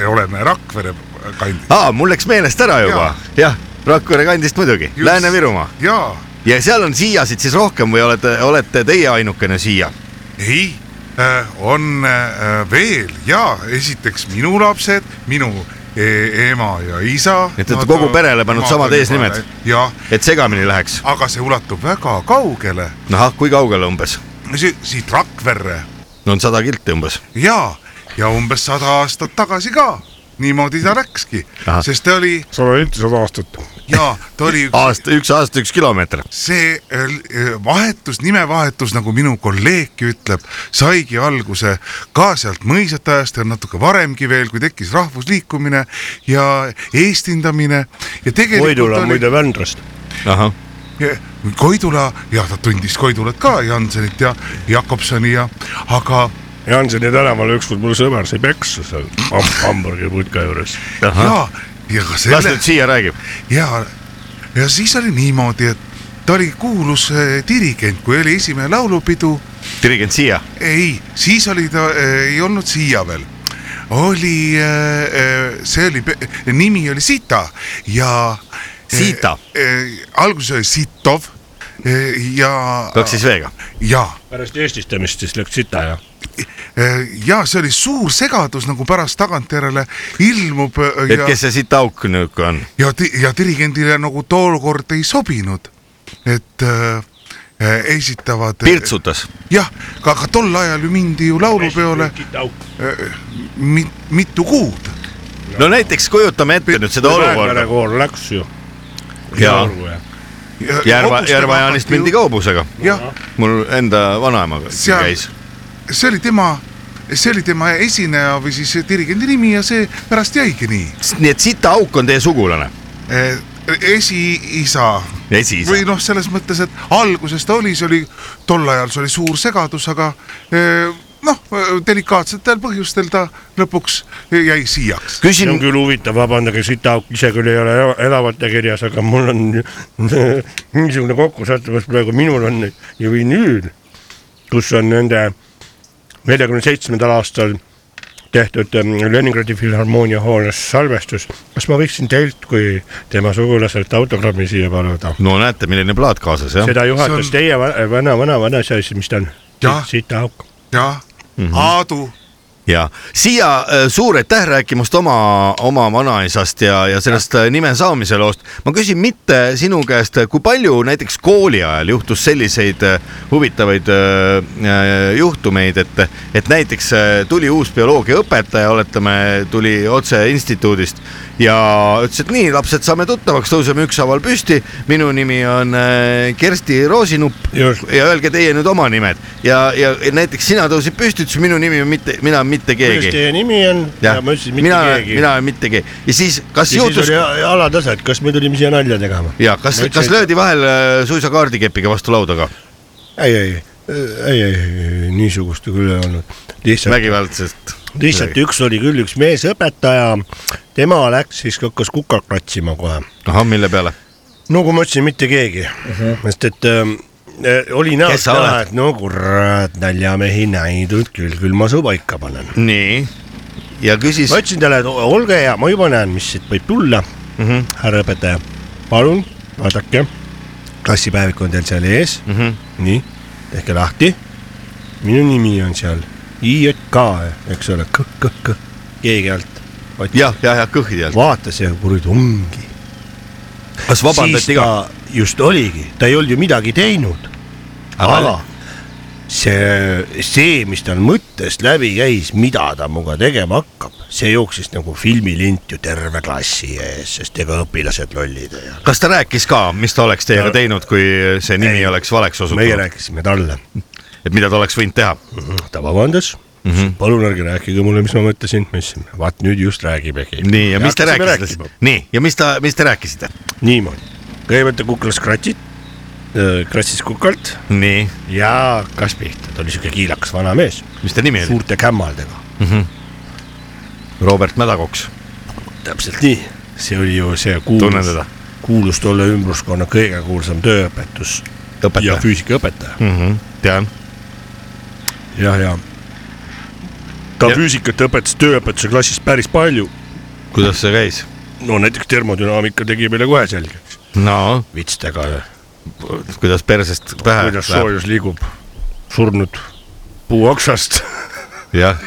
[SPEAKER 6] oleme Rakvere kandis .
[SPEAKER 4] aa , mul läks meelest ära juba , jah , Rakvere kandist muidugi , Lääne-Virumaa .
[SPEAKER 6] jaa ,
[SPEAKER 4] ja seal on siiasid siis rohkem või olete , olete teie ainukene siia ?
[SPEAKER 6] ei äh, , on äh, veel ja esiteks minu lapsed , minu e ema ja isa .
[SPEAKER 4] Et te olete kogu perele pannud samad eesnimed?
[SPEAKER 6] jah ,
[SPEAKER 4] et segamini läheks ,
[SPEAKER 6] aga see ulatub väga kaugele ,
[SPEAKER 4] ahah , kui kaugele umbes ?
[SPEAKER 6] siit Rakverre
[SPEAKER 4] no on sada kilti umbes .
[SPEAKER 6] ja , ja umbes sada aastat tagasi ka niimoodi ta läkski
[SPEAKER 4] Ahah. ,
[SPEAKER 6] sest ta oli
[SPEAKER 5] sada üheksasada aastat .
[SPEAKER 6] ja ta oli üks
[SPEAKER 4] aasta , üks aasta , üks kilomeeter .
[SPEAKER 6] see äh, vahetus , nimevahetus , nagu minu kolleegki ütleb , saigi alguse ka sealt mõisate ajast ja natuke varemgi veel , kui tekkis rahvusliikumine ja eestindamine ja tegelikult
[SPEAKER 5] Koidula on
[SPEAKER 6] oli
[SPEAKER 5] muide Vändrast .
[SPEAKER 4] ahah ,
[SPEAKER 6] Ja- Koidula ja ta tundis Koidulat ka , Jansenit ja Jakobsoni ja , aga
[SPEAKER 5] Janseni tänaval ükskord mul sõber sai peksa seal ham- hamburgiputka juures .
[SPEAKER 4] ahah .
[SPEAKER 6] ja , ja ka
[SPEAKER 4] las
[SPEAKER 6] selle
[SPEAKER 4] nüüd siia räägib .
[SPEAKER 6] ja , ja siis oli niimoodi , et ta oli kuulus äh, dirigent , kui oli esimene laulupidu
[SPEAKER 4] dirigent siia .
[SPEAKER 6] ei , siis oli ta , ei olnud siia veel , oli , see oli , nimi oli Sita ja .
[SPEAKER 4] Sita. .
[SPEAKER 6] alguses oli Sitov eh, ja .
[SPEAKER 4] kaks siis V-ga .
[SPEAKER 6] ja ,
[SPEAKER 5] pärast eestistamist siis läks sita ja .
[SPEAKER 6] ja see oli suur segadus , nagu pärast tagantjärele ilmub eh,
[SPEAKER 4] et
[SPEAKER 6] ja ,
[SPEAKER 4] kes see siit auk nihuke on ?
[SPEAKER 6] ja , ja dirigendile nagu tookord ei sobinud , et eh, eh, esitavad .
[SPEAKER 4] pirtsutas .
[SPEAKER 6] jah , aga tol ajal ju mindi ju laulupeole mit, mitu kuud
[SPEAKER 4] no näiteks kujutame ette nüüd seda
[SPEAKER 6] nagu-
[SPEAKER 5] Läänemere
[SPEAKER 4] olukorda .
[SPEAKER 5] kool läks ju .
[SPEAKER 4] jaa , Järva , Järva-Jaanist mindi . kaubusega .
[SPEAKER 6] jah ,
[SPEAKER 4] mul enda vanaemaga
[SPEAKER 6] Seal-
[SPEAKER 4] käis .
[SPEAKER 6] see oli tema , see oli tema esineja või siis dirigendi nimi ja see pärast jäigi nii .
[SPEAKER 4] nii et sita auk on teie sugulane .
[SPEAKER 6] esiisa
[SPEAKER 4] esiisa
[SPEAKER 6] või noh , selles mõttes , et alguses ta oli , see oli , tol ajal see oli suur segadus , aga eh, noh , delikaatsetel põhjustel ta lõpuks jäi siiaks .
[SPEAKER 5] see on
[SPEAKER 4] küsin ,
[SPEAKER 5] küll huvitav , vabandage , sitaauk ise küll ei ole ela- elavate kirjas , aga mul on niisugune kokkusattumus praegu , minul on ju vinüül , kus on nende neljakümne seitsmendal aastal tehtud ähm, Leningradi Filharmoonia hoones salvestus . kas ma võiksin teilt kui tema sugulaselt autogrammi siia paluda ?
[SPEAKER 4] no näete , milline plaat kaasas jah ,
[SPEAKER 5] seda juhatas
[SPEAKER 6] See
[SPEAKER 5] on...
[SPEAKER 6] on-
[SPEAKER 5] teie va- vana , vana , vana see asi , mis ta on
[SPEAKER 6] Jah. ?
[SPEAKER 5] sitaauk .
[SPEAKER 6] jah ,
[SPEAKER 4] Mhm.
[SPEAKER 6] Aadu ,
[SPEAKER 4] ja siia äh, suur aitäh rääkimast oma , oma vanaisast ja , ja sellest äh, nime saamise loost . ma küsin mitte sinu käest , kui palju näiteks kooli ajal juhtus selliseid äh, huvitavaid äh, äh, juhtumeid , et , et näiteks äh, tuli uus bioloogiaõpetaja , oletame , tuli otse instituudist ja ütles , et nii lapsed , saame tuttavaks , tõuseme ükshaaval püsti . minu nimi on äh, Kersti Roosinupp
[SPEAKER 5] Just.
[SPEAKER 4] ja öelge teie nüüd oma nimed ja , ja näiteks sina tõusid püsti , ütlesid minu nimi on mitte , mina olen mitte
[SPEAKER 5] kuidas
[SPEAKER 4] keegi .
[SPEAKER 5] teie nimi on ? ja ma ütlesin mitte
[SPEAKER 4] mina
[SPEAKER 5] keegi .,
[SPEAKER 4] mina olen mitte keegi ja siis , kas
[SPEAKER 5] ja siis
[SPEAKER 4] juhtus
[SPEAKER 5] oli a- alatase , et kas me tulime siia nalja tegema .
[SPEAKER 4] ja kas
[SPEAKER 5] ma ütlesin, ,
[SPEAKER 4] kas
[SPEAKER 5] et-
[SPEAKER 4] löödi vahel äh, suisa kaardikepiga vastu lauda ka
[SPEAKER 5] ei , ei , ei , ei , niisugust küll ei olnud . lihtsalt ,
[SPEAKER 4] vägivaldselt ?
[SPEAKER 5] lihtsalt üks oli küll üks meesõpetaja , tema läks siis hakkas kuka kratsima kohe .
[SPEAKER 4] ahah , mille peale ?
[SPEAKER 5] no kui ma ütlesin , mitte keegi uh , -huh. sest et ähm, äh, oli
[SPEAKER 4] Kes
[SPEAKER 5] näost
[SPEAKER 4] sa
[SPEAKER 5] näha ,
[SPEAKER 4] oled?
[SPEAKER 5] et no kurat , naljamehi näidud küll , küll ma su paika panen .
[SPEAKER 4] nii , ja küsis
[SPEAKER 5] ma , ütlesin talle , et o- olge hea , ma juba näen , mis siit võib tulla mm ,
[SPEAKER 4] Mhm.
[SPEAKER 5] -hmm. härra õpetaja , palun vaadake , klassipäevik on teil seal ees mm ,
[SPEAKER 4] Mhm.
[SPEAKER 5] -hmm. nii , tehke lahti . minu nimi on seal IJK , eks ole , kõh-kõh-kõh , keegi alt .
[SPEAKER 4] jah , ja , ja kõhdi alt .
[SPEAKER 5] vaatas ja kuradi ongi .
[SPEAKER 4] kas
[SPEAKER 5] siis
[SPEAKER 4] vabandati ka ?
[SPEAKER 5] ta just oligi , ta ei olnud ju midagi teinud , aga see , see , mis tal mõttest läbi käis , mida ta minuga tegema hakkab , see jooksis nagu filmilint ju terve klassi ees , sest ega õpilased lollid ei ole .
[SPEAKER 4] kas ta rääkis ka , mis ta oleks teiega teinud , kui see nimi
[SPEAKER 5] Ei.
[SPEAKER 4] oleks valeks
[SPEAKER 5] meie
[SPEAKER 4] osutunud ,
[SPEAKER 5] rääkisime talle ,
[SPEAKER 4] et mida ta oleks võinud teha ?
[SPEAKER 5] ta vabandas mm , -hmm.
[SPEAKER 4] Mhm.
[SPEAKER 5] palun ärge rääkige mulle , mis ma mõtlesin , ma ütlesin , vaat nüüd just räägimegi .
[SPEAKER 4] nii , ja mis te rääkisite ? nii , ja mis ta , mis te rääkisite ?
[SPEAKER 5] niimoodi , kõigepealt ta kuklas kratsit , kratsis kukalt
[SPEAKER 4] nii ,
[SPEAKER 5] ja hakkas pihta , ta oli siuke kiilakas vanamees ,
[SPEAKER 4] mis ta nimi oli ?
[SPEAKER 5] suurte kämmaldega .
[SPEAKER 4] Robert Mädakoks .
[SPEAKER 5] täpselt nii , see oli ju see
[SPEAKER 4] Tunnen
[SPEAKER 5] kuulus
[SPEAKER 4] teda. ,
[SPEAKER 5] kuulus tolle ümbruskonna kõige kuulsam tööõpetus ja
[SPEAKER 4] õpetaja .
[SPEAKER 5] füüsikaõpetaja
[SPEAKER 4] Mm -hmm. tean ,
[SPEAKER 5] ja , ja ta
[SPEAKER 4] Ja-
[SPEAKER 5] ja. füüsikat õpetas tööõpetuse klassis päris palju .
[SPEAKER 4] kuidas see käis ?
[SPEAKER 5] no näiteks termodünaamika tegi meile kohe selgeks .
[SPEAKER 4] no
[SPEAKER 5] vitstega ,
[SPEAKER 4] kuidas persest pähe
[SPEAKER 5] kuidas soojus liigub surnud puu oksast
[SPEAKER 4] jah ,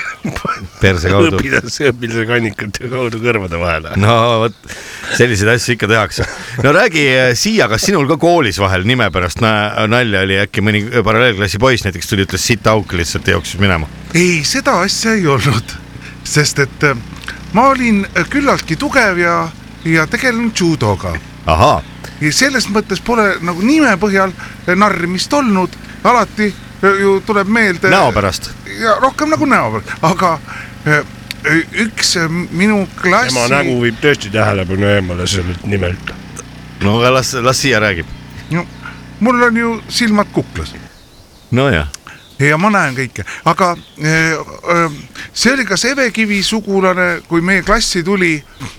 [SPEAKER 4] perse kaudu .
[SPEAKER 5] õpilase , õpilase kannikate kaudu kõrvade vahele .
[SPEAKER 4] no vot , selliseid asju ikka tehakse . no räägi äh, Siia , kas sinul ka koolis vahel nime pärast na nalja oli , äkki mõni eh, paralleelklassi poiss näiteks tuli , ütles sitt auk lihtsalt ja jooksis minema ?
[SPEAKER 6] ei seda asja ei olnud , sest et eh, ma olin küllaltki tugev ja , ja tegelenud judoga
[SPEAKER 4] ahaa ,
[SPEAKER 6] ja selles mõttes pole nagu nime põhjal narrimist olnud , alati eh, ju tuleb meelde .
[SPEAKER 4] näo pärast .
[SPEAKER 6] ja rohkem nagu näo peal , aga eh, üks eh, minu klassi .
[SPEAKER 5] tema nägu viib tõesti tähelepanu eemale sellelt nimelt .
[SPEAKER 4] no aga las , las Siia räägib .
[SPEAKER 6] nägu . mul on ju silmad kuklas
[SPEAKER 4] nojah ,
[SPEAKER 6] ja ma näen kõike , aga eh, eh, see oli kas Eve Kivi sugulane , kui meie klassi tuli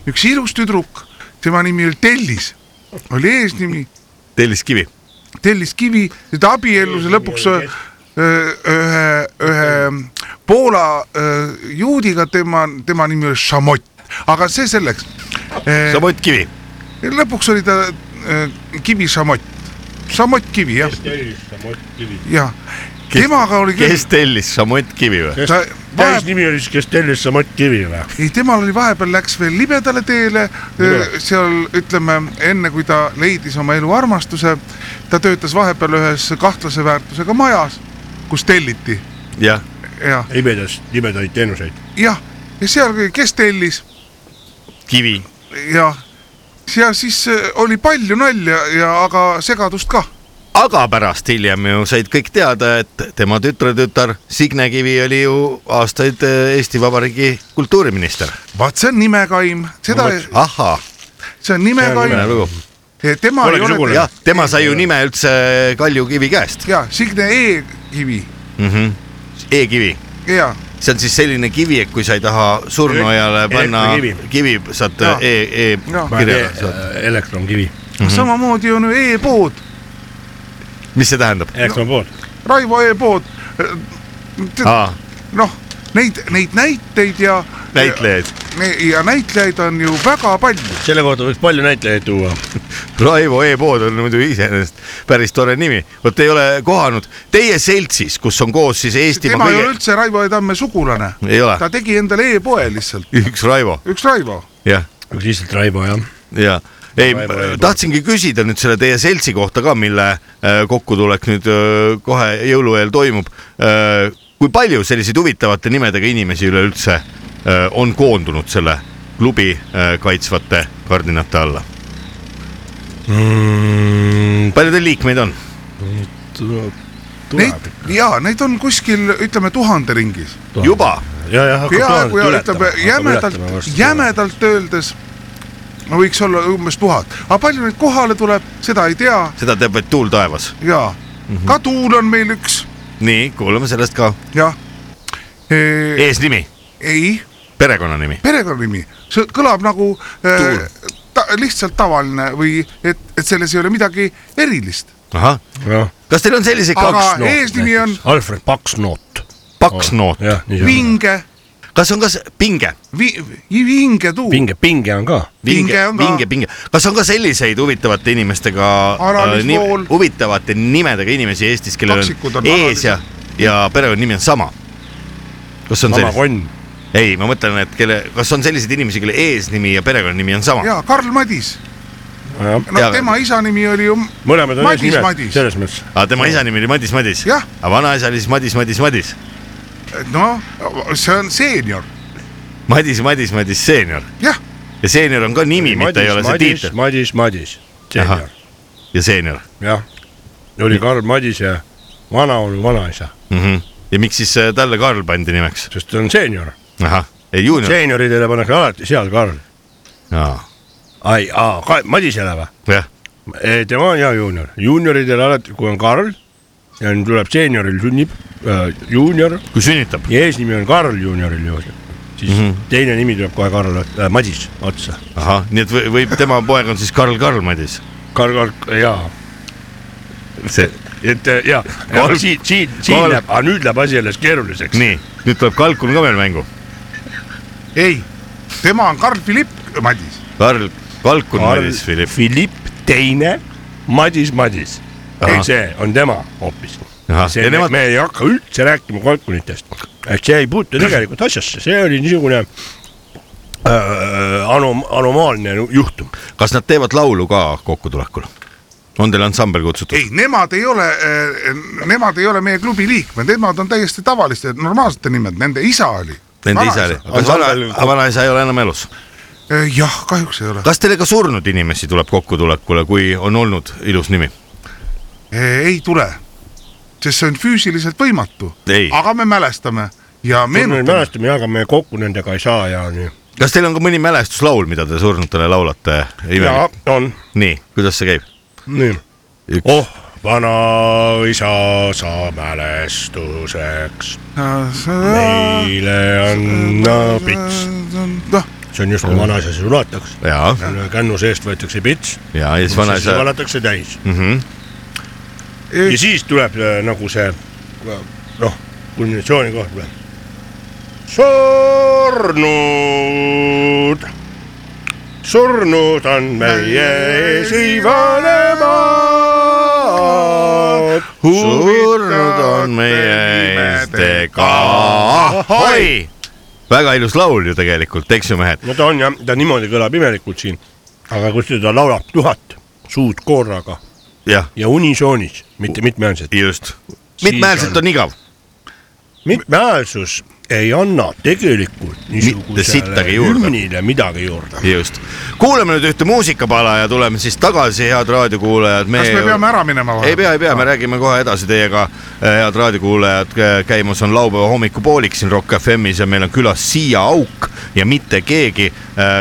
[SPEAKER 6] üks ilus tüdruk , tema nimi oli Tellis , oli eesnimi
[SPEAKER 4] telliskivi .
[SPEAKER 6] tellis kivi , ta abiellus ja lõpuks öö, ühe , ühe Poola öö, juudiga , tema , tema nimi oli Šamott , aga see selleks .
[SPEAKER 4] Samott Kivi .
[SPEAKER 6] lõpuks oli ta öö, Kivi Šamott , Šamott Kivi jah , jah . temaga oli
[SPEAKER 4] kes
[SPEAKER 6] küll ,
[SPEAKER 4] tellis Samott Kivi või ?
[SPEAKER 6] ta
[SPEAKER 5] täis
[SPEAKER 6] vahe-
[SPEAKER 5] nimi oli siis , kes tellis see Matt Kivi või ?
[SPEAKER 6] ei , temal oli vahepeal läks veel libedale teele , seal ütleme enne , kui ta leidis oma elu armastuse , ta töötas vahepeal ühes kahtlase väärtusega majas , kus telliti
[SPEAKER 4] jah ,
[SPEAKER 6] jah ,
[SPEAKER 5] libedas , libedaid teenuseid .
[SPEAKER 6] jah , ja seal , kes tellis
[SPEAKER 4] Kivi .
[SPEAKER 6] ja , ja siis äh, oli palju nalja ja aga segadust ka .
[SPEAKER 4] aga pärast hiljem ju said kõik teada , et tema tütretütar Signe Kivi oli ju aastaid eh, Eesti Vabariigi kultuuriminister .
[SPEAKER 6] vaat see on nimekaim , seda ,
[SPEAKER 4] ahhaa ,
[SPEAKER 6] see on
[SPEAKER 5] see on
[SPEAKER 6] nimekaim
[SPEAKER 4] lugu .
[SPEAKER 6] tema ei
[SPEAKER 5] Olegi
[SPEAKER 6] ole
[SPEAKER 5] sugulane.
[SPEAKER 4] jah , tema sai ju nime üldse Kalju Kivi käest ,
[SPEAKER 6] ja Signe E-kivi
[SPEAKER 4] E-kivi .
[SPEAKER 6] ja
[SPEAKER 4] see on siis selline kivi , et kui sa ei taha surnuaiale panna
[SPEAKER 5] Elektrikivi.
[SPEAKER 4] kivi , saad
[SPEAKER 6] Jaa.
[SPEAKER 4] E , E
[SPEAKER 6] Jaa.
[SPEAKER 4] kirjale saad .
[SPEAKER 5] äh, elektronkivi ,
[SPEAKER 6] mm -hmm. samamoodi on ju e-pood ,
[SPEAKER 4] mis see tähendab ?
[SPEAKER 5] elektronpood .
[SPEAKER 6] Raivo e-pood .
[SPEAKER 4] Ah.
[SPEAKER 6] noh , neid , neid näiteid ja .
[SPEAKER 4] näitlejaid .
[SPEAKER 6] ja näitlejaid on ju väga palju .
[SPEAKER 5] selle kohta võiks palju näitlejaid tuua .
[SPEAKER 4] Raivo E-pood on muidu iseenesest päris tore nimi , vot ei ole kohanud teie seltsis , kus on koos siis Eestimaa
[SPEAKER 6] tema ei ole
[SPEAKER 4] kõige ,
[SPEAKER 6] üldse Raivo E. Tamme sugulane ,
[SPEAKER 4] ei ole
[SPEAKER 6] ta , tegi endale e-poe lihtsalt ,
[SPEAKER 4] üks Raivo ,
[SPEAKER 6] üks Raivo .
[SPEAKER 4] jah ,
[SPEAKER 5] üks lihtsalt Raivo jah .
[SPEAKER 4] ja ei
[SPEAKER 5] Raivo E-pood. ,
[SPEAKER 4] tahtsingi küsida nüüd selle teie seltsi kohta ka , mille äh, kokkutulek nüüd äh, kohe jõulu eel toimub . kui palju selliseid huvitavate nimedega inimesi üleüldse äh, on koondunud selle klubi äh, kaitsvate kardinate alla , palju teil liikmeid on ?
[SPEAKER 6] Neid , ja neid on kuskil , ütleme tuhande ringis ,
[SPEAKER 4] juba ,
[SPEAKER 5] ja , jah , hakkab
[SPEAKER 6] peaaegu ja
[SPEAKER 5] tuhandet
[SPEAKER 6] ütleme jämedalt , jämedalt öeldes võiks olla umbes tuhat , aga palju neid kohale tuleb , seda ei tea
[SPEAKER 4] seda teab vaid tuul taevas .
[SPEAKER 6] ja
[SPEAKER 4] Mhm.
[SPEAKER 6] ka tuul on meil üks
[SPEAKER 4] nii , kuulame sellest ka ,
[SPEAKER 6] jah e .
[SPEAKER 4] eesnimi
[SPEAKER 6] ei ,
[SPEAKER 4] perekonnanimi .
[SPEAKER 6] perekonnanimi , see kõlab nagu äh, ta, lihtsalt tavaline või et , et selles ei ole midagi erilist ,
[SPEAKER 4] ahah , kas teil on selliseid
[SPEAKER 6] aga
[SPEAKER 4] kaks ,
[SPEAKER 6] eesnimi on
[SPEAKER 5] Alfred Paksnoot .
[SPEAKER 4] paks noot ,
[SPEAKER 5] jah , nii see on .
[SPEAKER 6] vinge
[SPEAKER 4] kas on kas pinge ?
[SPEAKER 6] vi, , vingetuu
[SPEAKER 5] pinge , pinge on ka .
[SPEAKER 6] Pinge on ka.
[SPEAKER 4] pinge , pinge , kas on ka selliseid huvitavate inimestega äh,
[SPEAKER 6] Alanis , Vool.
[SPEAKER 4] huvitavate nimedega inimesi Eestis , kellel
[SPEAKER 6] Kaksikud
[SPEAKER 4] on
[SPEAKER 6] on
[SPEAKER 4] ees ja , ja perekonnanimi on sama ? kas on
[SPEAKER 5] vana
[SPEAKER 4] selliseid ,
[SPEAKER 5] konn .
[SPEAKER 4] ei , ma mõtlen , et kelle , kas on selliseid inimesi , kelle eesnimi ja perekonnanimi on sama ?
[SPEAKER 6] ja Karl Madis , no
[SPEAKER 4] Jaa,
[SPEAKER 6] ja, tema isa nimi oli ju
[SPEAKER 5] mõlemad on
[SPEAKER 6] Madis ,
[SPEAKER 5] eesnimed ,
[SPEAKER 6] Madis ,
[SPEAKER 5] selles mõttes .
[SPEAKER 4] aga tema isa nimi oli Madis Madis ,
[SPEAKER 6] Jah.
[SPEAKER 4] aga vanaisa oli siis Madis Madis Madis ,
[SPEAKER 6] noh , see on seenior ,
[SPEAKER 4] Madis Madis Madis seenior
[SPEAKER 6] jah ,
[SPEAKER 4] ja seenior on ka nimi , mitte ei ole see tiitel
[SPEAKER 5] Madis , Madis ,
[SPEAKER 4] Ahah.
[SPEAKER 5] seenior ,
[SPEAKER 4] ja seenior
[SPEAKER 5] jah . oli Karl Madis ja vanaolu vanaisa ,
[SPEAKER 4] mm . -hmm. ja miks siis äh, talle Karl pandi nimeks ?
[SPEAKER 5] sest ta on seenior .
[SPEAKER 4] ahah , ei juunior ,
[SPEAKER 5] seenioridele pannakse alati seal Karl .
[SPEAKER 4] jah ,
[SPEAKER 5] ai , aa , Madisele või ? tema on ja juunior , juunioridele alati , kui on Karl ja nüüd tuleb seenioril sünnib äh, juunior
[SPEAKER 4] kui sünnitab ,
[SPEAKER 5] ja eesnimi on Karl juunioril juures , siis mm -hmm. teine nimi tuleb kohe Karl äh, , Madis otsa .
[SPEAKER 4] ahah , nii et või- võib tema poeg on siis Karl Karl Madis ,
[SPEAKER 5] Karl , Karl , jaa ,
[SPEAKER 4] see ,
[SPEAKER 5] et äh, jaa ,
[SPEAKER 4] Karl-
[SPEAKER 5] siin , siin , siin
[SPEAKER 4] Karl-
[SPEAKER 5] läheb , aga nüüd läheb asi alles keeruliseks .
[SPEAKER 4] nii , nüüd tuleb Kalkun ka veel mängu ,
[SPEAKER 6] ei , tema on Karl Philipp Madis ,
[SPEAKER 4] Karl , Kalkun Karl...
[SPEAKER 5] Karl
[SPEAKER 4] Madis Philipp ,
[SPEAKER 5] Philipp teine , Madis , Madis .
[SPEAKER 4] Ahah.
[SPEAKER 5] ei , see on tema hoopis .
[SPEAKER 4] Ahah, ja
[SPEAKER 5] see ,
[SPEAKER 4] nemad-
[SPEAKER 5] nemad... me ei hakka üldse rääkima kalkunitest , et see ei puutu tegelikult asjasse , see oli niisugune äh, anom- , anomaalne nu- juhtum .
[SPEAKER 4] kas nad teevad laulu ka kokkutulekul ? on teil ansambel kutsutud ?
[SPEAKER 6] ei , nemad ei ole , nemad ei ole meie klubi liikmed , nemad on täiesti tavaliste , normaalsete nimed , nende isa oli .
[SPEAKER 4] Nende isa oli , kas vana
[SPEAKER 5] Ansambel- ,
[SPEAKER 4] vanaisa ei ole enam elus ?
[SPEAKER 6] Eh, jah , kahjuks ei ole .
[SPEAKER 4] kas teile ka surnud inimesi tuleb kokkutulekule , kui on olnud ilus nimi ?
[SPEAKER 6] Eh, ei tule , sest see on füüsiliselt võimatu
[SPEAKER 4] Ei. .
[SPEAKER 6] aga me mälestame ja
[SPEAKER 5] me
[SPEAKER 6] meenutame .
[SPEAKER 5] mälestame ja , aga me kokku nendega ei saa ja nii .
[SPEAKER 4] kas teil on ka mõni mälestuslaul , mida te surnutele laulate ?
[SPEAKER 5] ja on ,
[SPEAKER 4] nii , kuidas see käib ?
[SPEAKER 5] nii .
[SPEAKER 4] Üks.
[SPEAKER 5] oh , vanaisa sa mälestuseks
[SPEAKER 6] Ah,
[SPEAKER 5] meile anna pits .
[SPEAKER 6] noh ,
[SPEAKER 5] see on justkui vanaisa sülataks .
[SPEAKER 4] ja ,
[SPEAKER 5] kännu seest võetakse pits ,
[SPEAKER 4] ja siis
[SPEAKER 5] siis
[SPEAKER 4] vanaisa , Mm. Mhm.
[SPEAKER 5] valatakse täis ja siis tuleb äh, nagu see äh, noh , kulminatsiooni koht tuleb . surnud , surnud on meie esivanemad .
[SPEAKER 4] surnud on meie eestega . ahoi , väga ilus laul ju tegelikult , eks ju , mehed .
[SPEAKER 5] no ta on jah , ta niimoodi kõlab imelikult siin , aga kui seda laulab tuhat suud korraga
[SPEAKER 4] jah ,
[SPEAKER 5] ja unisoonis , mitte mitmehäälselt .
[SPEAKER 4] just . mitmehäälselt on igav ,
[SPEAKER 5] mitmehäälsus ei anna tegelikult niisugusele
[SPEAKER 4] sittagi juurde.
[SPEAKER 5] hümnile midagi juurde .
[SPEAKER 4] just . kuulame nüüd ühte muusikapala ja tuleme siis tagasi , head raadiokuulajad .
[SPEAKER 6] kas me peame ära minema
[SPEAKER 4] ei pea , ei pea , me räägime kohe edasi teiega , head raadiokuulajad , käimas on laupäeva hommikupoolik siin Rock FM-is ja meil on külas Siia Auk ja mitte keegi ,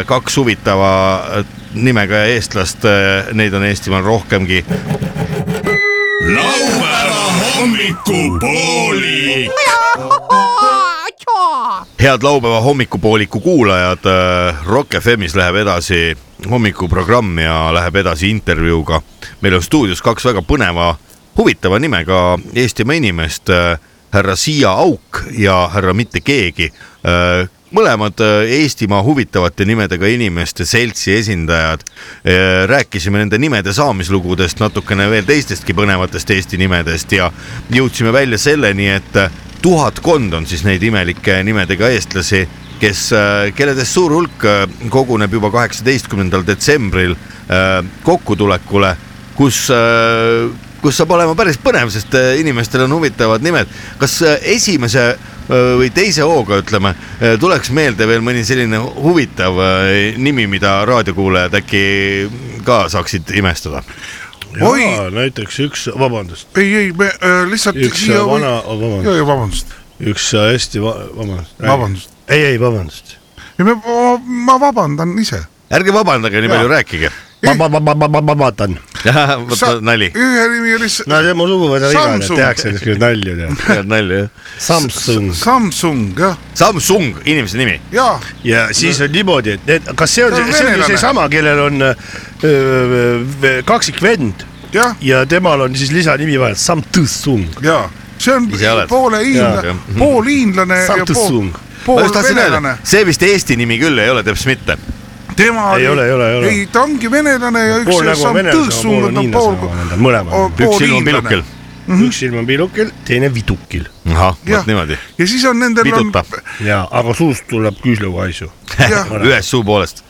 [SPEAKER 4] kaks Eh, huvitava eh, nimega eestlast , neid on Eestimaal rohkemgi .
[SPEAKER 1] laupäeva hommikupoolik .
[SPEAKER 4] head laupäeva hommikupooliku kuulajad , Rock FM-is läheb edasi hommikuprogramm ja läheb edasi intervjuuga . meil on stuudios kaks väga põneva , huvitava nimega Eestimaa inimest , härra Siia Auk ja härra Mitte keegi . mõlemad äh, Eestimaa huvitavate nimedega inimeste seltsi esindajad . rääkisime nende nimede saamislugudest , natukene veel teistestki põnevatest Eesti nimedest ja jõudsime välja selleni , et äh, tuhatkond on siis neid imelike nimedega eestlasi , kes , kelledest suur hulk äh, koguneb juba kaheksateistkümnendal detsembril äh, kokkutulekule , kus , kus saab olema päris põnev , sest äh, inimestel on huvitavad nimed . kas äh, esimese äh, või teise hooga , ütleme , tuleks meelde veel mõni selline huvitav äh, nimi , mida raadiokuulajad äkki ka saaksid imestada ?
[SPEAKER 6] Oi!
[SPEAKER 5] näiteks üks , vabandust ,
[SPEAKER 6] ei , ei , me äh, lihtsalt .
[SPEAKER 5] üks vana , vabandust ,
[SPEAKER 6] vabandust ,
[SPEAKER 5] üks hästi va- , vabandust .
[SPEAKER 6] Vabandust. .
[SPEAKER 5] ei , ei , vabandust .
[SPEAKER 6] ma vabandan ise .
[SPEAKER 4] ärge vabandage nii
[SPEAKER 6] Jaa.
[SPEAKER 4] palju , rääkige .
[SPEAKER 5] vabandan .
[SPEAKER 4] võta nali ,
[SPEAKER 6] ühe nimi oli s-
[SPEAKER 5] no see on mu suguvõsa viga ,
[SPEAKER 6] Samsung.
[SPEAKER 5] tehakse niisuguseid nalju , tead .
[SPEAKER 4] head nalja jah .
[SPEAKER 5] Samsung
[SPEAKER 6] Samsung jah ,
[SPEAKER 4] Samsung , inimese nimi
[SPEAKER 6] ja
[SPEAKER 5] ja siis on niimoodi , et need , kas see on
[SPEAKER 6] Ta on ,
[SPEAKER 5] see on ju
[SPEAKER 6] venelane.
[SPEAKER 5] seesama , kellel on äh, öö, öö, kaksikvend
[SPEAKER 6] Jah.
[SPEAKER 5] ja temal on siis lisanimi vahel Samsung .
[SPEAKER 6] ja see on
[SPEAKER 4] Ise oled.
[SPEAKER 6] poole
[SPEAKER 4] Jaa, jah.
[SPEAKER 6] hiinlane , pool hiinlane ja pool
[SPEAKER 5] Mhm. Samsung. ,
[SPEAKER 4] ma
[SPEAKER 6] pool
[SPEAKER 4] just tahtsin öelda
[SPEAKER 6] venelane ,.
[SPEAKER 4] see vist Eesti nimi küll ei ole teps mitte .
[SPEAKER 6] tema
[SPEAKER 5] Ei ole, ei ole, ei ole.
[SPEAKER 6] ei ta ongi venelane ja üks
[SPEAKER 5] pool nägu nagu on venelane , pool on nagu hiinlane , mõlemal .
[SPEAKER 6] Pool
[SPEAKER 4] üks silm on
[SPEAKER 6] hiinlane.
[SPEAKER 4] pilukil .
[SPEAKER 5] üks silm on pilukil , teine vidukil
[SPEAKER 4] ahah ,
[SPEAKER 6] Jah.
[SPEAKER 4] vot niimoodi .
[SPEAKER 6] ja siis on nendel on
[SPEAKER 4] Viduta.
[SPEAKER 5] ja , aga suust tuleb küüslauahaisu .
[SPEAKER 6] Jah.
[SPEAKER 4] ühest suu poolest .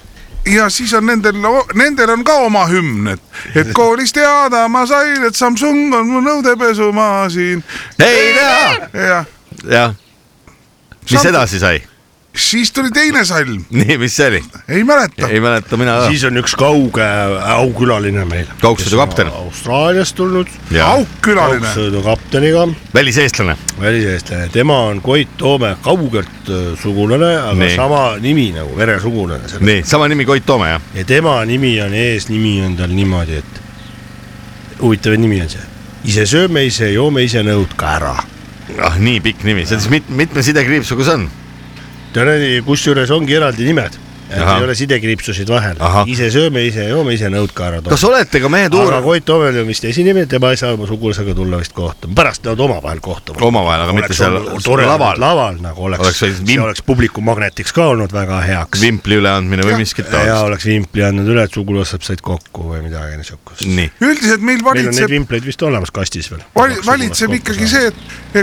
[SPEAKER 6] ja siis on nendel , nendel on ka oma hümn , et , et koolis teada ma sain , et Samsung on mu nõudepesumaa siin
[SPEAKER 4] ei tea .
[SPEAKER 6] ja
[SPEAKER 4] jah . mis
[SPEAKER 6] Samsung-
[SPEAKER 4] edasi sai ?
[SPEAKER 6] siis tuli teine salm ,
[SPEAKER 4] nii , mis see oli ?
[SPEAKER 6] ei mäleta .
[SPEAKER 4] ei mäleta mina ka .
[SPEAKER 5] siis on üks kauge aukülaline meil .
[SPEAKER 4] Kaugsõidukapten.
[SPEAKER 5] Austraaliast tulnud .
[SPEAKER 6] aukülaline ,
[SPEAKER 5] kaugsõidukapteniga
[SPEAKER 4] väliseestlane .
[SPEAKER 5] väliseestlane , tema on Koit Toome kaugelt äh, sugulane , aga
[SPEAKER 4] Nii.
[SPEAKER 5] nee. sama nimi nagu veresugulane .
[SPEAKER 4] nii , sama nimi Koit Toome jah ?
[SPEAKER 5] ja tema nimi on , eesnimi on tal niimoodi , et huvitav nimi on see , ise sööme , ise joome , ise nõud ka ära .
[SPEAKER 4] ah , nii pikk nimi , see on siis mit, mitme sidekriipsuga see on ?
[SPEAKER 5] tõenäoliselt kusjuures ongi eraldi nimed , et
[SPEAKER 4] Ahah.
[SPEAKER 5] ei ole sidekriipsusid vahel
[SPEAKER 4] Ahah. ,
[SPEAKER 5] ise sööme , ise joome , ise nõud ka ära .
[SPEAKER 4] kas olete ka mehed
[SPEAKER 5] aga
[SPEAKER 4] uurinud ?
[SPEAKER 5] Koit Toovel on vist esinimi , tema ei saa oma sugulasega tulla vist kohtuma , pärast nad omavahel kohtuvad .
[SPEAKER 4] omavahel , aga mitte seal
[SPEAKER 5] tore
[SPEAKER 4] laval .
[SPEAKER 5] laval , laval nagu oleks,
[SPEAKER 4] Oleks
[SPEAKER 5] oleks ,
[SPEAKER 4] võinud
[SPEAKER 5] see
[SPEAKER 4] vimp-
[SPEAKER 5] oleks publiku magnetiks ka olnud väga heaks .
[SPEAKER 4] vimpli üleandmine või miskit
[SPEAKER 5] ja
[SPEAKER 4] taolist .
[SPEAKER 5] oleks vimpli andnud üle , et sugulased said kokku või midagi niisugust .
[SPEAKER 4] nii ,
[SPEAKER 6] üldiselt meil
[SPEAKER 5] meil on neid
[SPEAKER 6] valitseb ,
[SPEAKER 5] vimpleid vist olemas kastis veel .
[SPEAKER 6] valitseb ikkagi see , et ,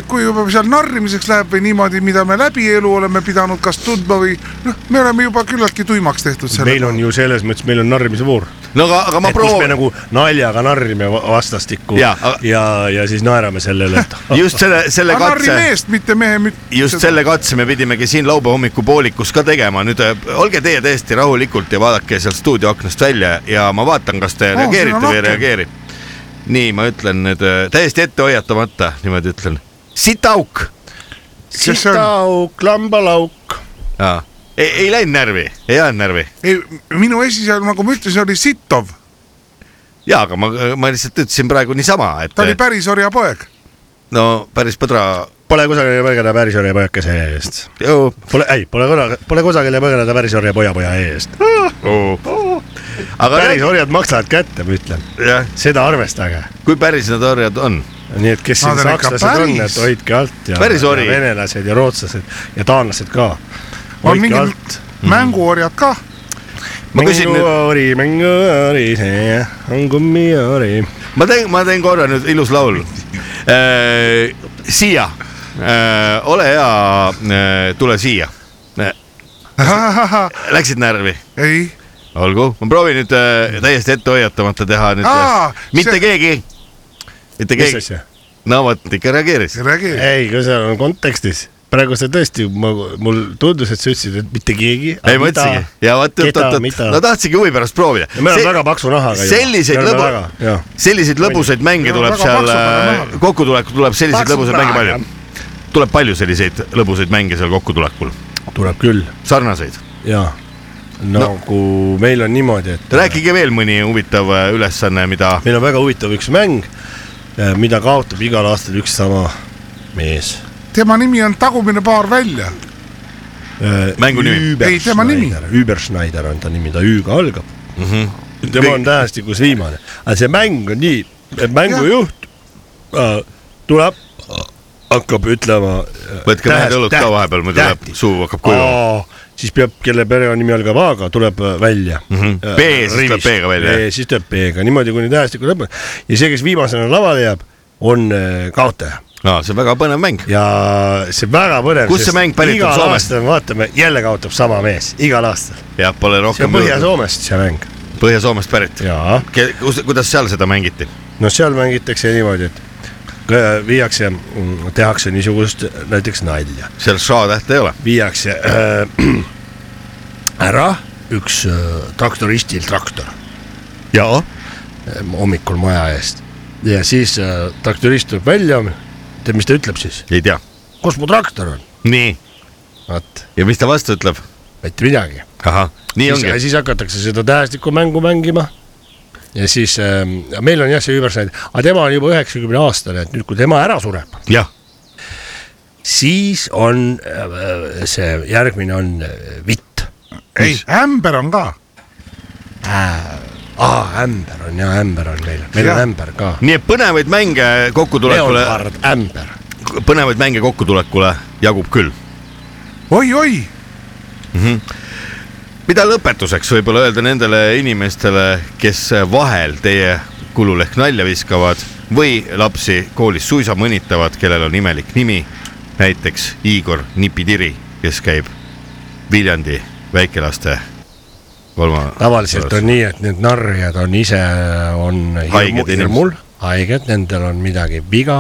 [SPEAKER 6] et kui juba seal narrimiseks läheb või niimoodi , mida me läbi elu oleme pidanud kas tundma või noh , me oleme juba küllaltki tuimaks tehtud selle
[SPEAKER 5] meil . on ju selles mõttes , meil on narrimise voor ,
[SPEAKER 4] no aga , aga ma
[SPEAKER 5] et kus me
[SPEAKER 4] proovin .
[SPEAKER 5] nagu naljaga narrime va- vastastikku
[SPEAKER 4] Jaa,
[SPEAKER 5] ja ,
[SPEAKER 4] aga-
[SPEAKER 5] ja , ja siis naerame sellele , et
[SPEAKER 4] just selle , selle
[SPEAKER 6] aga narri
[SPEAKER 4] katse
[SPEAKER 6] meest , mitte mehe mütt .
[SPEAKER 4] just selle katse me pidimegi siin laupäeva hommikupoolikus ka tegema , nüüd äh, olge teie täiesti rahulikult ja vaadake sealt stuudio aknast välja ja ma vaatan , kas te
[SPEAKER 6] siin
[SPEAKER 4] reageerite
[SPEAKER 6] on
[SPEAKER 4] või ei
[SPEAKER 6] aken.
[SPEAKER 4] reageeri . nii , ma ütlen nüüd äh, täiesti ette hoiatamata , niimoodi ütlen . sitauk .
[SPEAKER 6] kes see on ?
[SPEAKER 5] sitaauk , lambalauk .
[SPEAKER 4] ei , ei läinud närvi , ei jäänud närvi .
[SPEAKER 6] ei , minu esiseadu , nagu ma ütlesin , oli Sitov ,
[SPEAKER 4] ja , aga ma , ma lihtsalt ütlesin praegu niisama , et äh,
[SPEAKER 6] ta oli päris orja poeg .
[SPEAKER 4] Mhm. no päris põdra .
[SPEAKER 5] Pole kusagile põgeneda päris orja pojakese eest . Pole , ei , pole kuna- , pole kusagile põgeneda päris orja pojapoja eest .
[SPEAKER 4] aga
[SPEAKER 5] päris
[SPEAKER 4] räägi ,
[SPEAKER 5] orjad maksavad kätte , ma ütlen ,
[SPEAKER 4] jah ,
[SPEAKER 5] seda arvestage .
[SPEAKER 4] kui päris need orjad on ,
[SPEAKER 5] nii et kes siin
[SPEAKER 6] Nad on ikka
[SPEAKER 5] sakslased on ,
[SPEAKER 6] päris-
[SPEAKER 5] et hoidke alt ja,
[SPEAKER 4] Päris
[SPEAKER 5] ja
[SPEAKER 4] ori.
[SPEAKER 5] venelased ja rootslased ja taanlased ka .
[SPEAKER 6] on
[SPEAKER 5] hoidke alt
[SPEAKER 6] mingid . mänguorjad ka ,
[SPEAKER 4] Ma küsin nüüd-
[SPEAKER 5] mänguori , mänguori , see on kummiori .
[SPEAKER 4] ma teen , ma teen korra nüüd ilus laul . siia , ole hea , tule siia . Läksid närvi ?
[SPEAKER 6] ei ,
[SPEAKER 4] olgu , ma proovin nüüd äh, täiesti ette hoiatamata teha nüüd
[SPEAKER 6] Aa, .
[SPEAKER 4] mitte
[SPEAKER 6] see-
[SPEAKER 4] keegi , mitte
[SPEAKER 5] mis
[SPEAKER 4] keegi ,
[SPEAKER 5] asja ?
[SPEAKER 4] no vot ikka reageeris .
[SPEAKER 6] räägi .
[SPEAKER 5] ei , kui seal on kontekstis , praegu sa tõesti , mul tundus , et sa ütlesid , et mitte keegi .
[SPEAKER 4] ei ma ütlesingi ja vot , oot , oot , oot , no tahtsingi huvi pärast proovida .
[SPEAKER 5] me oleme väga paksu nahaga ju.
[SPEAKER 4] selliseid
[SPEAKER 5] Me oleme
[SPEAKER 4] lõbu
[SPEAKER 5] väga- jah. ,
[SPEAKER 4] selliseid lõbusaid mänge
[SPEAKER 6] Me
[SPEAKER 4] tuleb
[SPEAKER 6] oleme väga
[SPEAKER 4] seal
[SPEAKER 6] paksu nahaga. ,
[SPEAKER 4] kokkutulekul tuleb selliseid
[SPEAKER 5] Paksu
[SPEAKER 4] lõbusaid mänge
[SPEAKER 5] nahaga.
[SPEAKER 4] palju . tuleb palju selliseid lõbusaid mänge seal kokkutulekul ,
[SPEAKER 5] tuleb küll
[SPEAKER 4] sarnaseid
[SPEAKER 5] ja nagu no. meil on niimoodi , et
[SPEAKER 4] rääkige veel mõni huvitav äh, ülesanne , mida
[SPEAKER 5] meil on väga huvitav üks mäng , mida kaotab igal aastal üks sama mees .
[SPEAKER 6] tema nimi on Tagumine paar välja .
[SPEAKER 4] Mängu nimi?
[SPEAKER 6] Ei, tema nimi. .
[SPEAKER 5] Über Äh, Schneider on ta nimi , ta Ü-ga algab mm .
[SPEAKER 4] Mhm.
[SPEAKER 5] -hmm. tema on tähestikus viimane , aga see mäng on nii , et mängujuht äh, tuleb , hakkab ütlema . äh,
[SPEAKER 4] võtke mehed õlut ka vahepeal , muidu läheb , suu hakkab kuivama .
[SPEAKER 5] siis peab , kelle perenimi algab A-ga , tuleb äh, välja mm .
[SPEAKER 4] Mhm. B, siis tuleb B-ga välja, jah.
[SPEAKER 5] siis tuleb B-ga , niimoodi kuni tähestiku lõpuni ja see , kes viimasena lavale jääb , on äh, kaotaja
[SPEAKER 4] aa , see on väga põnev mäng .
[SPEAKER 5] ja see väga põnev .
[SPEAKER 4] Kust see mäng pärit on?
[SPEAKER 5] igal
[SPEAKER 4] Soomest?
[SPEAKER 5] aastal me vaatame , jälle kaotab sama mees , igal aastal .
[SPEAKER 4] jah , pole
[SPEAKER 5] see on
[SPEAKER 4] rohkem .
[SPEAKER 5] Põhja-Soomest see mäng .
[SPEAKER 4] Põhja-Soomest pärit .
[SPEAKER 5] jaa ,
[SPEAKER 4] kus , kuidas seal seda mängiti ?
[SPEAKER 5] no seal mängitakse niimoodi , et kõ- viiakse , tehakse niisugust äh, näiteks nalja ,
[SPEAKER 4] seal ša-tähte ei ole .
[SPEAKER 5] viiakse äh, ära üks äh, traktoristil traktor
[SPEAKER 4] jaa .
[SPEAKER 5] äh, hommikul maja eest ja siis äh, traktorist tuleb välja , tead , mis ta ütleb siis ,
[SPEAKER 4] ei tea .
[SPEAKER 5] kus mu traktor on ,
[SPEAKER 4] nii ,
[SPEAKER 5] vaat ,
[SPEAKER 4] ja mis ta vastu ütleb ?
[SPEAKER 5] mitte midagi
[SPEAKER 4] ahah , nii
[SPEAKER 5] siis, ja
[SPEAKER 4] ongi .
[SPEAKER 5] siis hakatakse seda tähestikumängu mängima . ja siis ähm, meil on jah , see Übersnaid , aga tema on juba üheksakümne aastane , et nüüd , kui tema ära sureb ,
[SPEAKER 4] jah ,
[SPEAKER 5] siis on äh, see järgmine on äh, vitt .
[SPEAKER 6] ei , ämber on ka .
[SPEAKER 5] aa , ämber on ja ämber on meil , meil
[SPEAKER 6] Jah.
[SPEAKER 5] on ämber ka .
[SPEAKER 4] nii et põnevaid mänge kokkutulekule ,
[SPEAKER 5] Leonhard Ämber ,
[SPEAKER 4] põnevaid mänge kokkutulekule jagub küll .
[SPEAKER 6] oi-oi ,
[SPEAKER 4] mida lõpetuseks võib-olla öelda nendele inimestele , kes vahel teie kulul ehk nalja viskavad või lapsi koolis suisa mõnitavad , kellel on imelik nimi , näiteks Igor Nipitiri , kes käib Viljandi väikelaste kolma .
[SPEAKER 5] tavaliselt on . nii , et need narrijad on ise , on
[SPEAKER 4] Haiged
[SPEAKER 5] hirmu-
[SPEAKER 4] inimesed.
[SPEAKER 5] hirmul , haiged , nendel on midagi viga ,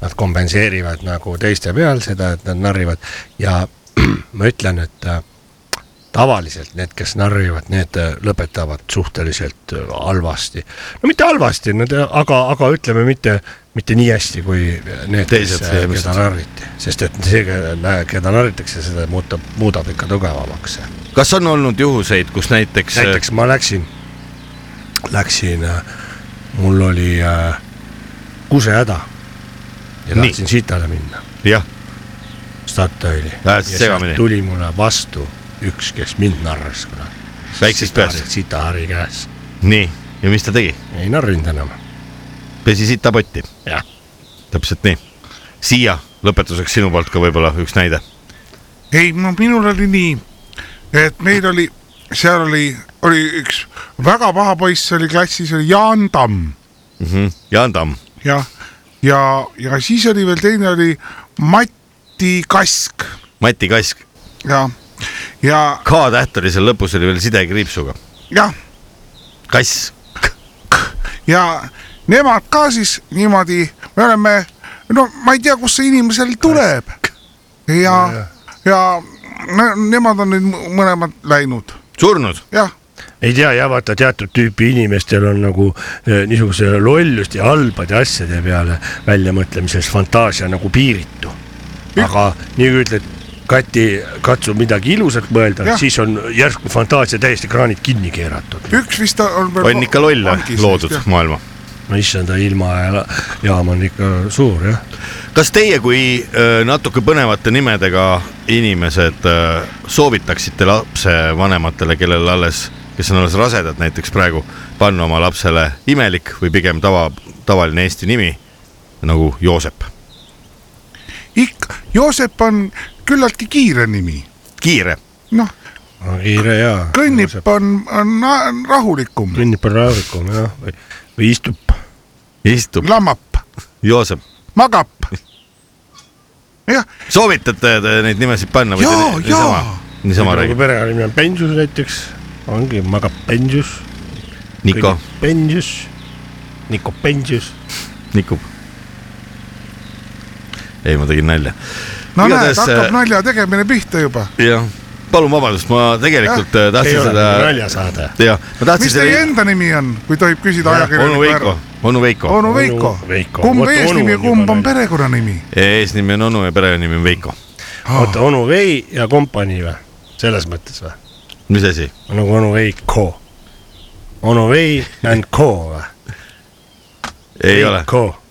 [SPEAKER 5] nad kompenseerivad nagu teiste peal seda , et nad narrivad ja ma ütlen , et äh, tavaliselt need , kes narrivad , need äh, lõpetavad suhteliselt äh, halvasti . no mitte halvasti , nad , aga , aga ütleme mitte , mitte nii hästi kui need , kes
[SPEAKER 4] Teised
[SPEAKER 5] äh, ,
[SPEAKER 4] inimesed.
[SPEAKER 5] keda narriti , sest et see , keda narritakse , seda muutub , muudab ikka tugevamaks
[SPEAKER 4] kas on olnud juhuseid , kus näiteks,
[SPEAKER 5] näiteks ma läksin , läksin , mul oli äh, kusehäda ja
[SPEAKER 4] Nii.
[SPEAKER 5] tahtsin sitale minna ,
[SPEAKER 4] jah ,
[SPEAKER 5] Statoili .
[SPEAKER 4] Lähed segamini.
[SPEAKER 5] tuli mulle vastu üks , kes mind narras kunagi .
[SPEAKER 4] väiksest peast ,
[SPEAKER 5] sitahari käes ,
[SPEAKER 4] nii , ja mis ta tegi ?
[SPEAKER 5] ei narrinud enam ,
[SPEAKER 4] pesi sitapotti ,
[SPEAKER 5] jah .
[SPEAKER 4] täpselt nii . Siia lõpetuseks sinu poolt ka võib-olla üks näide .
[SPEAKER 6] ei no minul oli nii , et meil oli , seal oli , oli üks väga paha poiss oli klassis , oli Jaan Tamm
[SPEAKER 5] Mhm.
[SPEAKER 4] Jaan Tamm ,
[SPEAKER 6] ja , ja , ja siis oli veel teine oli Mati Kask
[SPEAKER 4] Mati Kask
[SPEAKER 6] ja , ja ,
[SPEAKER 4] K-täht oli seal lõpus , oli veel sidekriipsuga .
[SPEAKER 6] jah ,
[SPEAKER 4] kass .
[SPEAKER 6] ja nemad ka siis niimoodi , me oleme , no ma ei tea , kust see inimesel tuleb . ja , ja ne- nemad on nüüd mõ- mõlemad läinud ,
[SPEAKER 4] surnud .
[SPEAKER 6] jah ,
[SPEAKER 5] ei tea jah , vaata teatud tüüpi inimestel on nagu eh, niisuguse lolluste ja halbade asjade peale väljamõtlemises fantaasia nagu piiritu . aga nii kui ütled , Kati , katsu midagi ilusat mõelda ,
[SPEAKER 6] Jah.
[SPEAKER 5] siis on järsku fantaasia täiesti kraanid kinni keeratud .
[SPEAKER 6] üks vist on veel .
[SPEAKER 4] on ikka lolle loodud maailma .
[SPEAKER 5] no issand , ilmajaam on ikka suur jah .
[SPEAKER 4] kas teie kui öö, natuke põnevate nimedega inimesed öö, soovitaksite lapsevanematele , kellel alles , kes on alles rasedad näiteks praegu , panna oma lapsele imelik või pigem tava , tavaline eesti nimi nagu Joosep ?
[SPEAKER 6] ikka , Joosep on küllaltki kiire nimi ,
[SPEAKER 4] kiire ,
[SPEAKER 6] noh ,
[SPEAKER 5] kiire ja .
[SPEAKER 6] kõnnib , on , on na- rahulikum ,
[SPEAKER 5] kõnnib on raevikum jah , või , või istub .
[SPEAKER 4] istub
[SPEAKER 6] lamab ,
[SPEAKER 4] Joosep .
[SPEAKER 6] magab . jah ,
[SPEAKER 4] soovitate te neid nimesid panna või te
[SPEAKER 6] Jaa,
[SPEAKER 4] ni-
[SPEAKER 6] jaa.
[SPEAKER 4] niisama , niisama
[SPEAKER 5] kui
[SPEAKER 4] räägite ?
[SPEAKER 5] perenimi Nagu on Bensus näiteks , ongi , magab Bensus
[SPEAKER 4] Niko ,
[SPEAKER 5] Pendius , Niko Pendius .
[SPEAKER 4] nikub . ei , ma tegin nalja
[SPEAKER 6] no näed ,
[SPEAKER 4] Igatahes,
[SPEAKER 6] hakkab
[SPEAKER 4] äh,
[SPEAKER 6] nalja tegemine pihta juba .
[SPEAKER 4] jah , palun vabandust , ma tegelikult äh,
[SPEAKER 5] ei
[SPEAKER 4] tahtsin
[SPEAKER 5] ole nagu
[SPEAKER 4] seda
[SPEAKER 5] seda... , naljasaade .
[SPEAKER 4] jah , ma tahtsin
[SPEAKER 6] nagu mis teie
[SPEAKER 4] seda ,
[SPEAKER 6] enda nagu nimi on , kui tohib küsida
[SPEAKER 4] onu
[SPEAKER 6] ajakirjaniku
[SPEAKER 4] Veiko
[SPEAKER 6] ära ?,
[SPEAKER 4] onu Veiko ,
[SPEAKER 6] onu Veiko
[SPEAKER 5] Onu Veiko. .
[SPEAKER 6] kumb
[SPEAKER 5] Vot onu
[SPEAKER 6] eesnimi ja
[SPEAKER 5] on
[SPEAKER 6] kumb
[SPEAKER 5] juba
[SPEAKER 6] on
[SPEAKER 5] nali.
[SPEAKER 6] perekonnanimi ?
[SPEAKER 4] eesnimi on onu ja perenimi on Veiko .
[SPEAKER 5] oota , onu Vei ja kompanii või ? selles mõttes või ?
[SPEAKER 4] mis asi ?
[SPEAKER 5] nagu onu Veiko . onu Vei and Co või ?
[SPEAKER 4] ei ole ,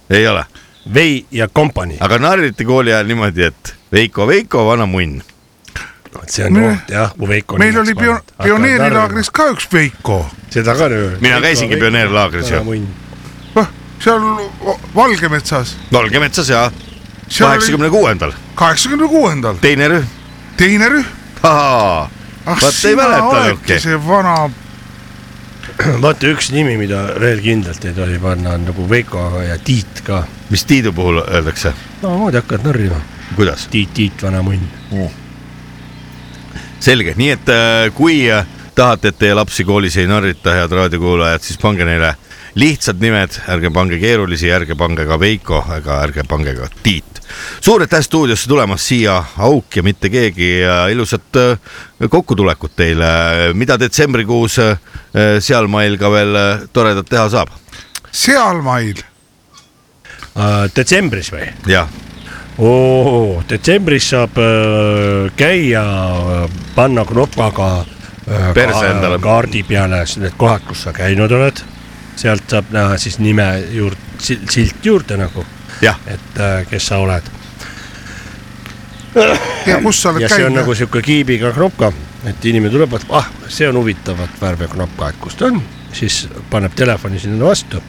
[SPEAKER 4] ei ole ,
[SPEAKER 5] Vei ja kompanii ,
[SPEAKER 4] aga narriti kooli ajal niimoodi , et Veiko , Veiko , vana munn .
[SPEAKER 5] see on
[SPEAKER 6] Me-
[SPEAKER 5] koht jah , kui Veiko .
[SPEAKER 6] meil oli pio- , pioneerilaagris . ka üks Veiko ,
[SPEAKER 5] seda ka nüüd .
[SPEAKER 4] Mina käisingi pioneerilaagris ju. .
[SPEAKER 6] Noh, seal Va- Valgemetsas ,
[SPEAKER 4] Valgemetsas ja
[SPEAKER 6] seal oli
[SPEAKER 4] kaheksakümne kuuendal ,
[SPEAKER 6] kaheksakümne kuuendal ,
[SPEAKER 4] teine rühm .
[SPEAKER 6] teine rühm . ah
[SPEAKER 4] Vaat ei
[SPEAKER 6] sina
[SPEAKER 4] mäleta
[SPEAKER 6] oledki
[SPEAKER 4] nihukene.
[SPEAKER 6] see vana ,
[SPEAKER 5] vaata üks nimi , mida veel kindlalt ei tohi panna , on nagu Veiko ja Tiit ka .
[SPEAKER 4] mis Tiidu puhul öeldakse ,
[SPEAKER 5] samamoodi hakkad narrima .
[SPEAKER 4] kuidas ?
[SPEAKER 5] Tiit , Tiit , vana munn .
[SPEAKER 4] selge , nii et äh, kui äh, tahate , et teie lapsi koolis ei narrita , head raadiokuulajad , siis pange neile lihtsad nimed , ärge pange keerulisi , ärge pange ka Veiko , aga ärge pange ka Tiit . suur aitäh stuudiosse tulemast , Siia Auk ja mitte keegi ja ilusat äh, kokkutulekut teile , mida detsembrikuus äh, sealmail ka veel äh, toredat teha saab ?
[SPEAKER 6] sealmail ,
[SPEAKER 5] Äh, detsembris või ?
[SPEAKER 4] jah ,
[SPEAKER 5] oo , detsembris saab äh, käia , panna knopaga äh,
[SPEAKER 4] Perse
[SPEAKER 5] ka-
[SPEAKER 4] endale.
[SPEAKER 5] kaardi peale s- need kohad , kus sa käinud oled . sealt saab näha siis nime juurde , silt juurde nagu ,
[SPEAKER 4] jah ,
[SPEAKER 5] et äh, kes sa oled .
[SPEAKER 6] ja kus sa oled
[SPEAKER 5] ja see on
[SPEAKER 6] käinud
[SPEAKER 5] nagu
[SPEAKER 6] nagu... ,
[SPEAKER 5] sihuke kiibiga knopka , et inimene tuleb , et ah , see on huvitavat värvi knopka , et kus ta on , siis paneb telefoni sinna vastu
[SPEAKER 4] ja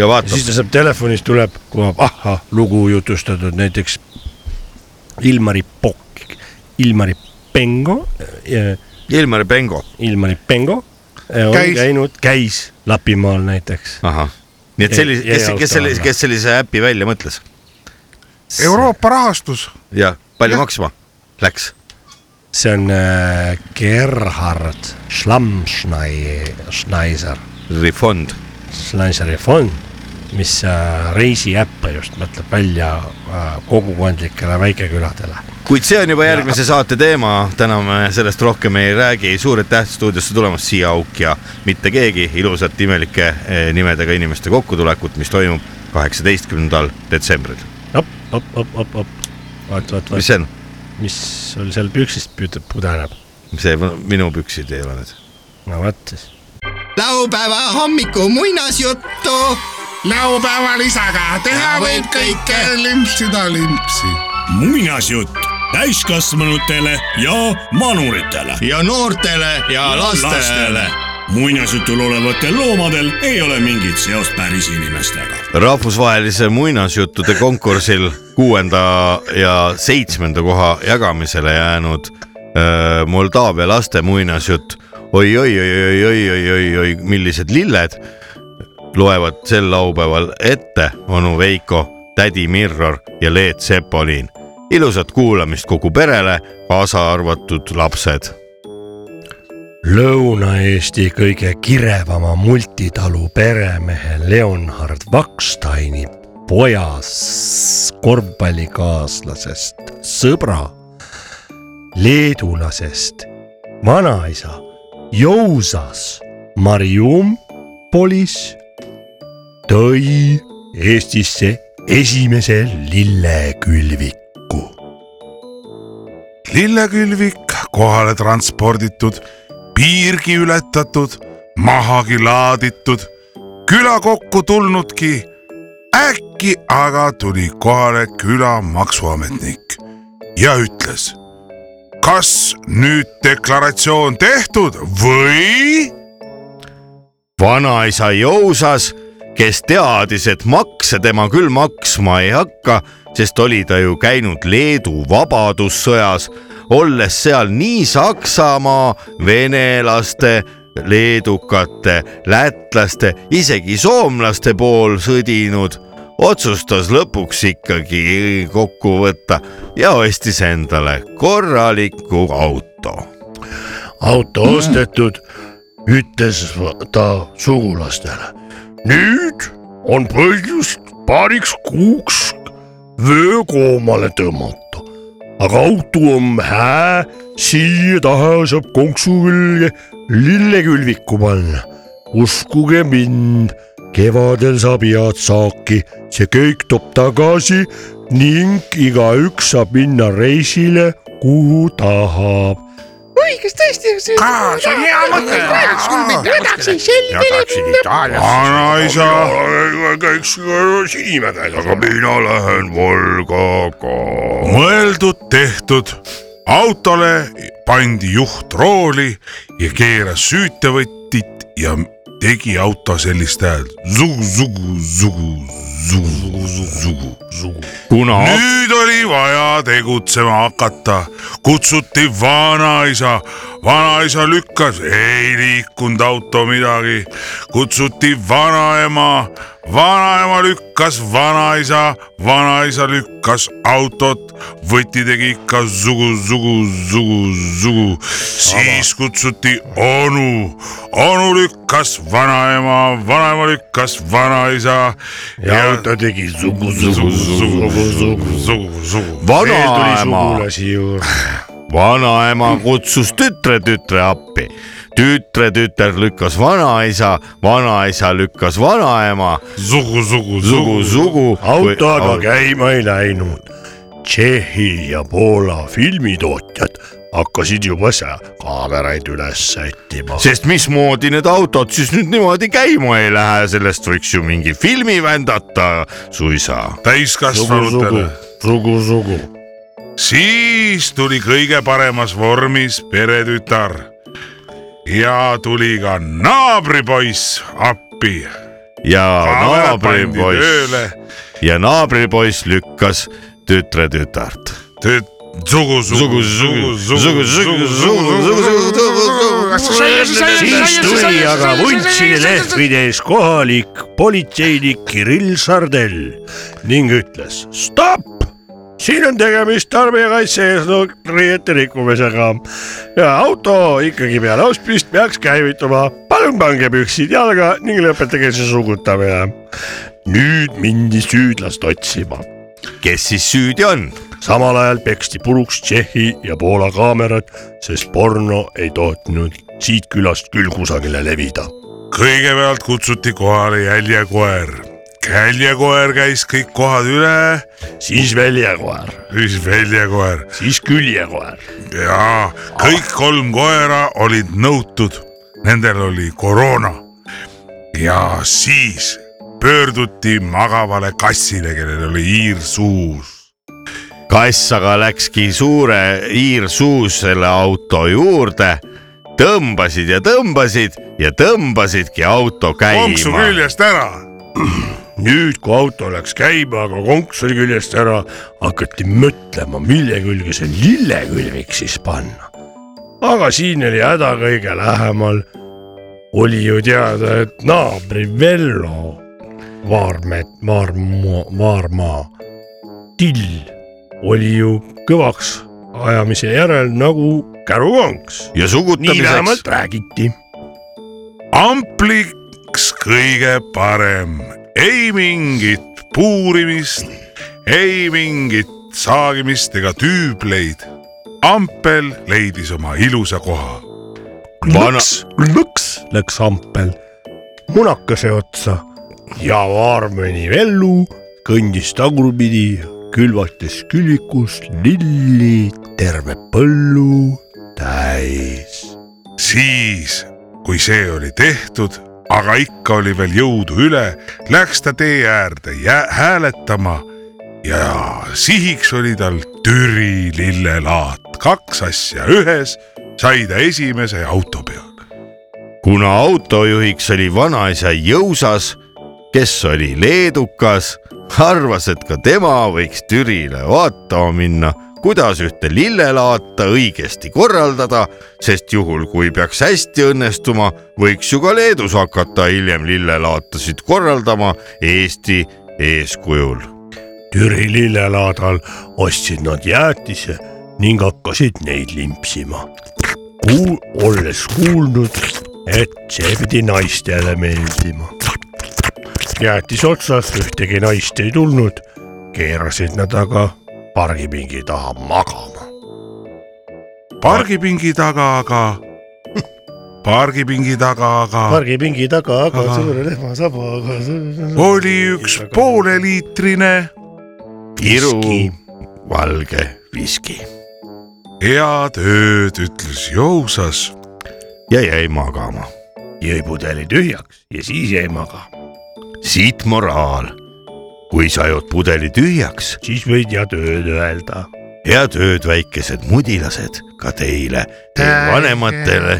[SPEAKER 5] ja siis
[SPEAKER 4] vaatab ,
[SPEAKER 5] ta saab telefonist tuleb , kuulab ahah , lugu jutustatud näiteks Ilmari Pokk , Ilmari Pengo ,
[SPEAKER 4] Ilmar Pengo ,
[SPEAKER 5] Ilmari Pengo eh, on
[SPEAKER 6] Käis.
[SPEAKER 5] käis. käinud , käis Lapimaal näiteks .
[SPEAKER 4] ahah , nii et
[SPEAKER 5] Jäi-
[SPEAKER 4] sellise ,
[SPEAKER 5] jäi
[SPEAKER 4] kes ,
[SPEAKER 5] auto
[SPEAKER 4] kes sellise ,
[SPEAKER 5] alla.
[SPEAKER 4] kes sellise äpi välja mõtles
[SPEAKER 6] Euroopa rahastus ,
[SPEAKER 4] ja palju
[SPEAKER 6] Jah.
[SPEAKER 4] maksma läks ?
[SPEAKER 5] see on äh, Gerhard Schlammschneiser ,
[SPEAKER 4] Refund ,
[SPEAKER 5] Schneiseri fond , mis äh, reisiäppe just mõtleb välja äh, kogukondlikele väikeküladele .
[SPEAKER 4] kuid see on juba järgmise saate teema , täna me sellest rohkem ei räägi , suur aitäh stuudiosse tulemast , Siia Auk ja mitte keegi , ilusat imelike eh, nimedega inimeste kokkutulekut , mis toimub kaheksateistkümnendal detsembril .
[SPEAKER 5] op , op , op , op , op , vaat , vaat ,
[SPEAKER 4] mis
[SPEAKER 5] vaat ,
[SPEAKER 4] see on ,
[SPEAKER 5] mis sul seal püksist püd- pudeneb .
[SPEAKER 4] see minu püksid ei ole need .
[SPEAKER 5] no vot siis .
[SPEAKER 7] laupäeva hommiku muinasjuttu
[SPEAKER 6] laupäeva lisaga teha võib kõike , limpsida limpsi .
[SPEAKER 1] muinasjutt täiskasvanutele ja vanuritele .
[SPEAKER 7] ja noortele ja lastele .
[SPEAKER 1] muinasjutul olevatel loomadel ei ole mingit seost päris inimestega .
[SPEAKER 4] rahvusvahelise muinasjuttude konkursil kuuenda ja seitsmenda koha jagamisele jäänud öö, Moldaavia laste muinasjutt oi , oi , oi , oi , oi , oi , oi , oi , millised lilled loevad sel laupäeval ette onu Veiko , tädi Mirror ja Leet Sepolin . ilusat kuulamist kogu perele , kaasa arvatud lapsed .
[SPEAKER 5] Lõuna-Eesti kõige kirevama multitalu peremehe Leonhard Vaksteini poja s- korvpallikaaslasest , sõbra , leedulasest , vanaisa jõusas Mariumpolis tõi Eestisse esimese lillekülviku
[SPEAKER 6] lillekülvik kohale transporditud , piirgi ületatud , mahagi laaditud , küla kokku tulnudki . äkki aga tuli kohale küla maksuametnik ja ütles . kas nüüd deklaratsioon tehtud või ?
[SPEAKER 4] vanaisa jõusas , kes teadis , et makse tema küll maksma ei hakka , sest oli ta ju käinud Leedu vabadussõjas , olles seal nii Saksamaa , venelaste , leedukate , lätlaste , isegi soomlaste pool sõdinud , otsustas lõpuks ikkagi kokku võtta ja ostis endale korraliku auto
[SPEAKER 5] auto ostetud , ütles ta sugulastele . nüüd on põhjust paariks kuuks vöö koomale tõmmata , aga auto on hää , siia taha saab konksu külge lillekülviku panna . uskuge mind , kevadel saab head saaki , see kõik toob tagasi ning igaüks saab minna reisile , kuhu tahab
[SPEAKER 8] oi , kas tõesti ?
[SPEAKER 6] Aa, see on hea mõte.
[SPEAKER 8] sul mitte võtakse selline .
[SPEAKER 6] vanaisa ,
[SPEAKER 1] käiks Sinimägel , aga mina lähen Volga ka .
[SPEAKER 6] mõeldud-tehtud , autole pandi juht rooli ja keeras süütevõtit ja tegi auto sellist äh, häält .
[SPEAKER 4] kuna
[SPEAKER 6] nüüd oli vaja tegutsema hakata , kutsuti vanaisa , vanaisa lükkas , ei liikunud auto midagi , kutsuti vanaema , vanaema lükkas vanaisa , vanaisa lükkas autot , võti tegi ikka sugu , sugu , sugu , sugu , siis kutsuti onu , onu lükkas vanaema , vanaema lükkas vanaisa ja
[SPEAKER 5] ta tegi sugu ,
[SPEAKER 6] sugu , sugu , sugu , sugu , sugu .
[SPEAKER 4] vanaema , vanaema kutsus tütre tütre appi , tütre tütar lükkas vanaisa , vanaisa lükkas vanaema ,
[SPEAKER 6] sugu , sugu ,
[SPEAKER 4] sugu , sugu .
[SPEAKER 5] auto aga käima ei läinud . Tšehhi ja Poola filmitootjad hakkasid juba seal kaameraid üles sättima .
[SPEAKER 4] sest mismoodi need autod siis nüüd niimoodi käima ei lähe , sellest võiks ju mingi filmi vändata suisa .
[SPEAKER 5] sugu , sugu
[SPEAKER 6] täiskasvanutele .,
[SPEAKER 5] sugu , sugu .
[SPEAKER 6] siis tuli kõige paremas vormis peretütar ja tuli ka naabripoiss appi .
[SPEAKER 4] ja naabripoiss , ja naabripoiss lükkas tütre tütart .
[SPEAKER 6] sugu , sugu , sugu , sugu , sugu , sugu ,
[SPEAKER 5] siis tuli aga vuntside lehvide ees kohalik politseinik Kirill Sardell ning ütles stopp , siin on tegemist tarbijakaitse eesnõuete rikkumisega ja auto ikkagi peale ostmist peaks käivituma . palun pange püksid jalga ning lõpetage see sugutamine . nüüd mindi süüdlast otsima
[SPEAKER 4] kes siis süüdi on ?
[SPEAKER 5] samal ajal peksti puruks Tšehhi ja Poola kaamerad , sest porno ei tohtinud siit külast küll kusagile levida .
[SPEAKER 6] kõigepealt kutsuti kohale jäljekoer , jäljekoer käis kõik kohad üle ,
[SPEAKER 5] siis väljakoer ,
[SPEAKER 6] siis väljakoer
[SPEAKER 5] siis küljekoer .
[SPEAKER 6] ja kõik kolm koera olid nõutud , nendel oli koroona . ja siis pöörduti magavale kassile , kellel oli hiir suus .
[SPEAKER 4] kass aga läkski suure hiirsuus selle auto juurde , tõmbasid ja tõmbasid ja tõmbasidki auto
[SPEAKER 6] konksu
[SPEAKER 4] käima .
[SPEAKER 6] küljest ära ,
[SPEAKER 5] nüüd , kui auto läks käima , aga konks oli küljest ära , hakati mõtlema , mille külge see lillekülvik siis panna . aga siin oli häda kõige lähemal . oli ju teada , et naabri Vello Vaarmet , Vaarmaa , Vaarmaa till oli ju kõvaks ajamise järel nagu kärukonks .
[SPEAKER 4] ja
[SPEAKER 5] nii
[SPEAKER 4] sugutamiseks
[SPEAKER 5] vähemalt räägiti .
[SPEAKER 6] ampliks kõige parem , ei mingit puurimist , ei mingit saagimist ega tüübleid . ampel leidis oma ilusa koha
[SPEAKER 4] Vana-
[SPEAKER 5] lõks , lõks läks ampel munakese otsa ja Vaarmeni Vellu kõndis tagurpidi , külvates külvikust lilli terve põllu täis .
[SPEAKER 6] siis , kui see oli tehtud , aga ikka oli veel jõudu üle , läks ta tee äärde jää- hääletama ja sihiks oli tal Türi lillelaat , kaks asja ühes sai ta esimese auto peale .
[SPEAKER 4] kuna autojuhiks oli vanaisa Jõusas , kes oli leedukas , arvas , et ka tema võiks Türile vaatama minna , kuidas ühte lillelaata õigesti korraldada , sest juhul , kui peaks hästi õnnestuma , võiks ju ka Leedus hakata hiljem lillelaatasid korraldama Eesti eeskujul .
[SPEAKER 5] Türi lillelaadal ostsid nad jäätise ning hakkasid neid limpsima . Kuul, olles kuulnud , et see pidi naistele meeldima . jäätise otsas ühtegi naist ei tulnud , keerasid nad aga pargipingi taha magama .
[SPEAKER 6] pargipingi taga aga , pargipingi taga aga
[SPEAKER 5] pargipingi taga aga
[SPEAKER 6] Aga-
[SPEAKER 5] suure lehmasaba , aga .
[SPEAKER 6] oli üks pooleliitrine
[SPEAKER 4] kiru , valge viski .
[SPEAKER 6] head ööd , ütles jõusas
[SPEAKER 4] ja jäi magama .
[SPEAKER 9] jõi pudeli tühjaks ja siis jäi magama ,
[SPEAKER 4] siit moraal . kui sa jood pudeli tühjaks ,
[SPEAKER 9] siis võid ja tööd öelda .
[SPEAKER 4] head ööd , väikesed mudilased , ka teile , teie vanematele .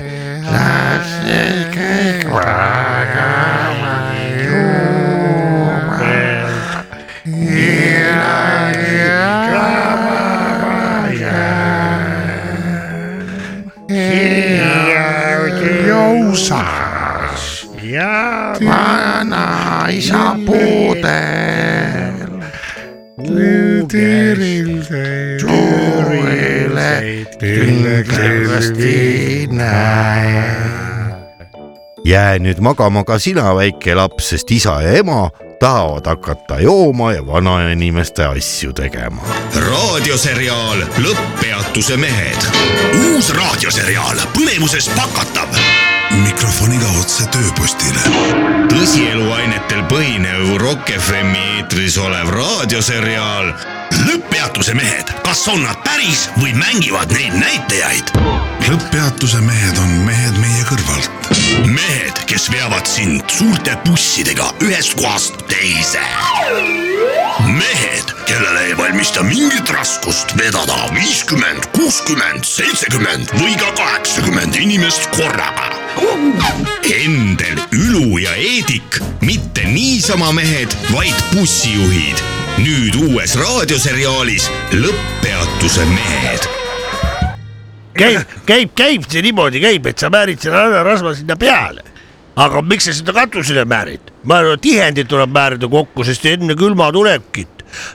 [SPEAKER 4] jää nüüd magama ka sina , väike laps , sest isa ja ema tahavad hakata jooma ja vanainimeste asju tegema .
[SPEAKER 10] raadioseriaal Lõpppeatuse mehed .
[SPEAKER 1] uus raadioseriaal põnevuses pakatab . mikrofoniga otse tööpostile .
[SPEAKER 10] tõsieluainetel põhinev Rock FM-i eetris olev raadioseriaal
[SPEAKER 1] lõpppeatuse mehed , kas on nad päris või mängivad neid näitajaid ? lõpppeatuse mehed on mehed meie kõrvalt . mehed , kes veavad sind suurte bussidega ühest kohast teise . mehed , kellele ei valmista mingit raskust vedada viiskümmend , kuuskümmend , seitsekümmend või ka kaheksakümmend inimest korraga .
[SPEAKER 10] Endel , Ülu ja Eedik , mitte niisama mehed , vaid bussijuhid . nüüd uues raadioseriaalis Lõpppeatuse mehed .
[SPEAKER 5] käib , käib , käib see niimoodi käib , et sa määrid selle hanerasva sinna peale . aga miks sa seda katusele määrid ? ma arvan , et tihendid tuleb määrida kokku , sest enne külmatulekit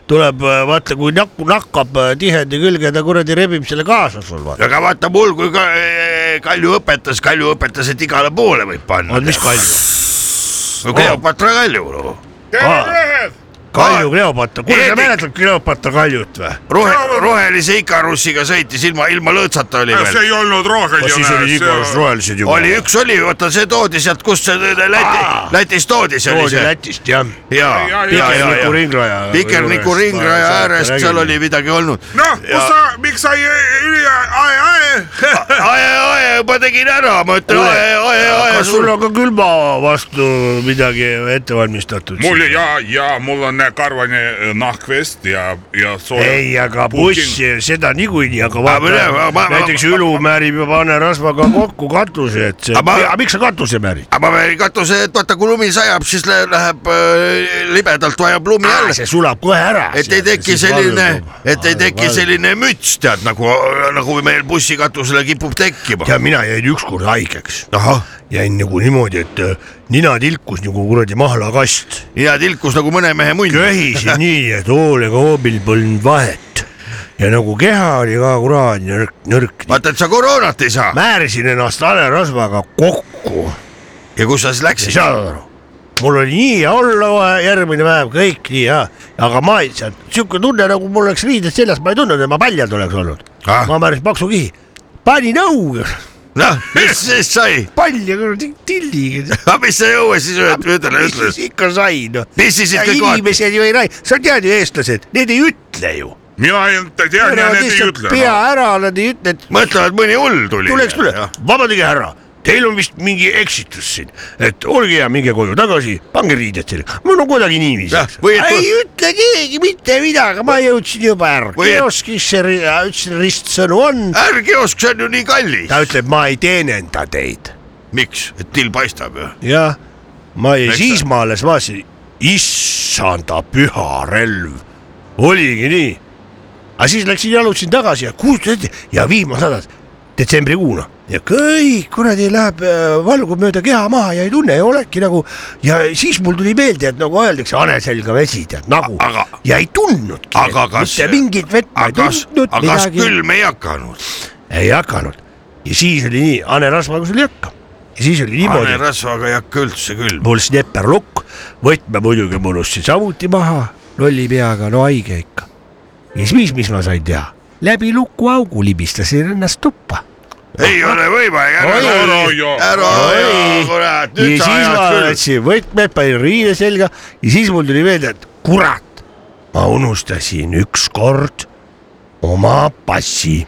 [SPEAKER 5] tuleb , vaata , kui nakku nakkab äh, tihendi külge , ta kuradi rebib selle kaasa sul vaata .
[SPEAKER 4] aga vaata mul , kui ka, e, Kalju õpetas , Kalju õpetas , et igale poole võib panna .
[SPEAKER 5] oot , mis Kalju ?
[SPEAKER 4] Kleopatra Kalju , noh.
[SPEAKER 5] Kalju Kleopatra , kuule , sa
[SPEAKER 4] Eedik.
[SPEAKER 5] mäletad Kleopatra Kaljut või ?
[SPEAKER 4] rohe , rohelise Ikarussiga sõitis ilma , ilma lõõtsata oli veel .
[SPEAKER 6] ei olnud roheline .
[SPEAKER 5] siis olid igas rohelised juba .
[SPEAKER 4] oli üks oli , vaata see toodi sealt , kust see Läti
[SPEAKER 5] Aa. ,
[SPEAKER 4] Lätist toodi see oli
[SPEAKER 5] toodi
[SPEAKER 4] see .
[SPEAKER 5] Lätist jah .
[SPEAKER 4] ja , ja , ja ,
[SPEAKER 5] Pikerniku
[SPEAKER 4] ja ,
[SPEAKER 5] ringraja .
[SPEAKER 4] Vikerniku ringraja äärest seal oli . midagi olnud .
[SPEAKER 6] noh , kus sa , miks sa ei , üli , ae , ae .
[SPEAKER 4] ae , ae , juba tegin ära , ma ütlen
[SPEAKER 5] Kuule,
[SPEAKER 4] ae , ae , ae ,
[SPEAKER 5] kas sul on ka külma vastu midagi ette valmistatud ?
[SPEAKER 6] mul ja , ja mul on karvane äh, nahkvest ja , ja soe .
[SPEAKER 5] ei , aga buss , seda niikuinii , aga
[SPEAKER 4] mine- ma- ma-
[SPEAKER 5] vaata ,
[SPEAKER 4] ma-
[SPEAKER 5] näiteks Ülu määrib juba hanerasvaga kokku katuse , et see ,
[SPEAKER 4] Aga ma-
[SPEAKER 5] aga miks sa katuse määrid ?
[SPEAKER 4] aga ma veel katuse , et vaata , kui lumi sajab , siis läheb, läheb äh, libedalt vajab lumi alla .
[SPEAKER 5] see sulab kohe ära .
[SPEAKER 4] et ei teki selline , et ei teki . selline müts , tead nagu , nagu meil bussikatusele kipub tekkima .
[SPEAKER 5] ja mina jäin ükskord haigeks , jäin nagu niimoodi , et äh, nina tilkus nagu kuradi mahlakast ,
[SPEAKER 4] ja tilkus nagu mõne mehe munn .
[SPEAKER 5] köhisin nii , et hoolega hoobil polnud vahet ja nagu keha oli ka kuradi nõrk , nõrk .
[SPEAKER 4] vaata , et sa koroonat ei saa .
[SPEAKER 5] määrisin ennast hanerasvaga kokku
[SPEAKER 4] ja kus sa siis
[SPEAKER 5] sa
[SPEAKER 4] läksid ?
[SPEAKER 5] saad aru ? mul oli nii hea olla kohe järgmine päev kõik nii hea , aga ma ei saanud , siuke tunne nagu mul oleks riided seljas , ma ei tundnud , et ma paljalt oleks olnud
[SPEAKER 4] Ah.
[SPEAKER 5] ah. . ma määrasin paksu kihi , panin õuge ,
[SPEAKER 4] noh , mis siis sai ?
[SPEAKER 5] palja kuradi tilliga .
[SPEAKER 4] aga mis sa jõuad siis ühele , ühele ütles ?
[SPEAKER 5] ikka sai noh .
[SPEAKER 4] pissisid kõik kohad .
[SPEAKER 5] inimesed ju ei räägi , sa tead ju , eestlased , need ei ütle ju .
[SPEAKER 6] mina ei tean ja need ei ütle . noh.
[SPEAKER 5] pea ära , nad ei ütle , et
[SPEAKER 4] mõtlevad , mõni hull tuli .
[SPEAKER 5] tuleks tule , vabandage härra , teil on vist mingi eksitus siin , et olge hea , minge koju tagasi , pange riided selga , mul on kuidagi niiviisi
[SPEAKER 4] Jah, . või et-
[SPEAKER 5] ei ütle keegi mitte midagi , ma jõudsin juba ära ,
[SPEAKER 4] Või et-
[SPEAKER 5] kioskisse , ütlesin ristsõnu on ,
[SPEAKER 4] ärkiosk , see on ju nii kallis .
[SPEAKER 5] ta ütleb , ma ei teenenda teid .
[SPEAKER 4] miks , et till paistab ju .
[SPEAKER 5] jah , ma ei ,
[SPEAKER 4] Eks
[SPEAKER 5] siis ma alles vaatasin , issanda püha relv , oligi nii . aga siis läksin jalutasin tagasi ja kuulsin ja vihma sadas detsembrikuuna ja kõik kuradi läheb , valgub mööda keha maha ja ei tunne ja oledki nagu ja siis mul tuli meelde , et nagu öeldakse , hane selga vesi tead nagu
[SPEAKER 4] Aga-
[SPEAKER 5] ja ei tundnudki ,
[SPEAKER 4] aga kas-
[SPEAKER 5] mitte mingit vett ma ei
[SPEAKER 4] aga kas ,
[SPEAKER 5] tundnud
[SPEAKER 4] aga kas külm ei hakanud ?
[SPEAKER 5] ei hakanud ja siis oli nii , hanerasvaga sul ei hakka ja siis oli niimoodi
[SPEAKER 4] pane . rasvaga ei hakka üldse külm .
[SPEAKER 5] mul snepperlukk , võtme muidugi mulus siin samuti maha , lolli peaga , no haige ikka . ja siis mis , mis ma sain teha ? läbi lukuaugu libistasin ennast tuppa .
[SPEAKER 4] ei ole võimalik , ära
[SPEAKER 5] Oi.
[SPEAKER 4] ära
[SPEAKER 6] aja.
[SPEAKER 4] ära
[SPEAKER 5] Oi.
[SPEAKER 4] aja , kurat ,
[SPEAKER 5] ja
[SPEAKER 4] nüüd
[SPEAKER 5] siis
[SPEAKER 4] sa
[SPEAKER 5] ma
[SPEAKER 4] ajad küll .
[SPEAKER 5] võtsin võtmed , panin riide selga ja siis mul tuli meelde , et kurat , ma unustasin ükskord oma passi .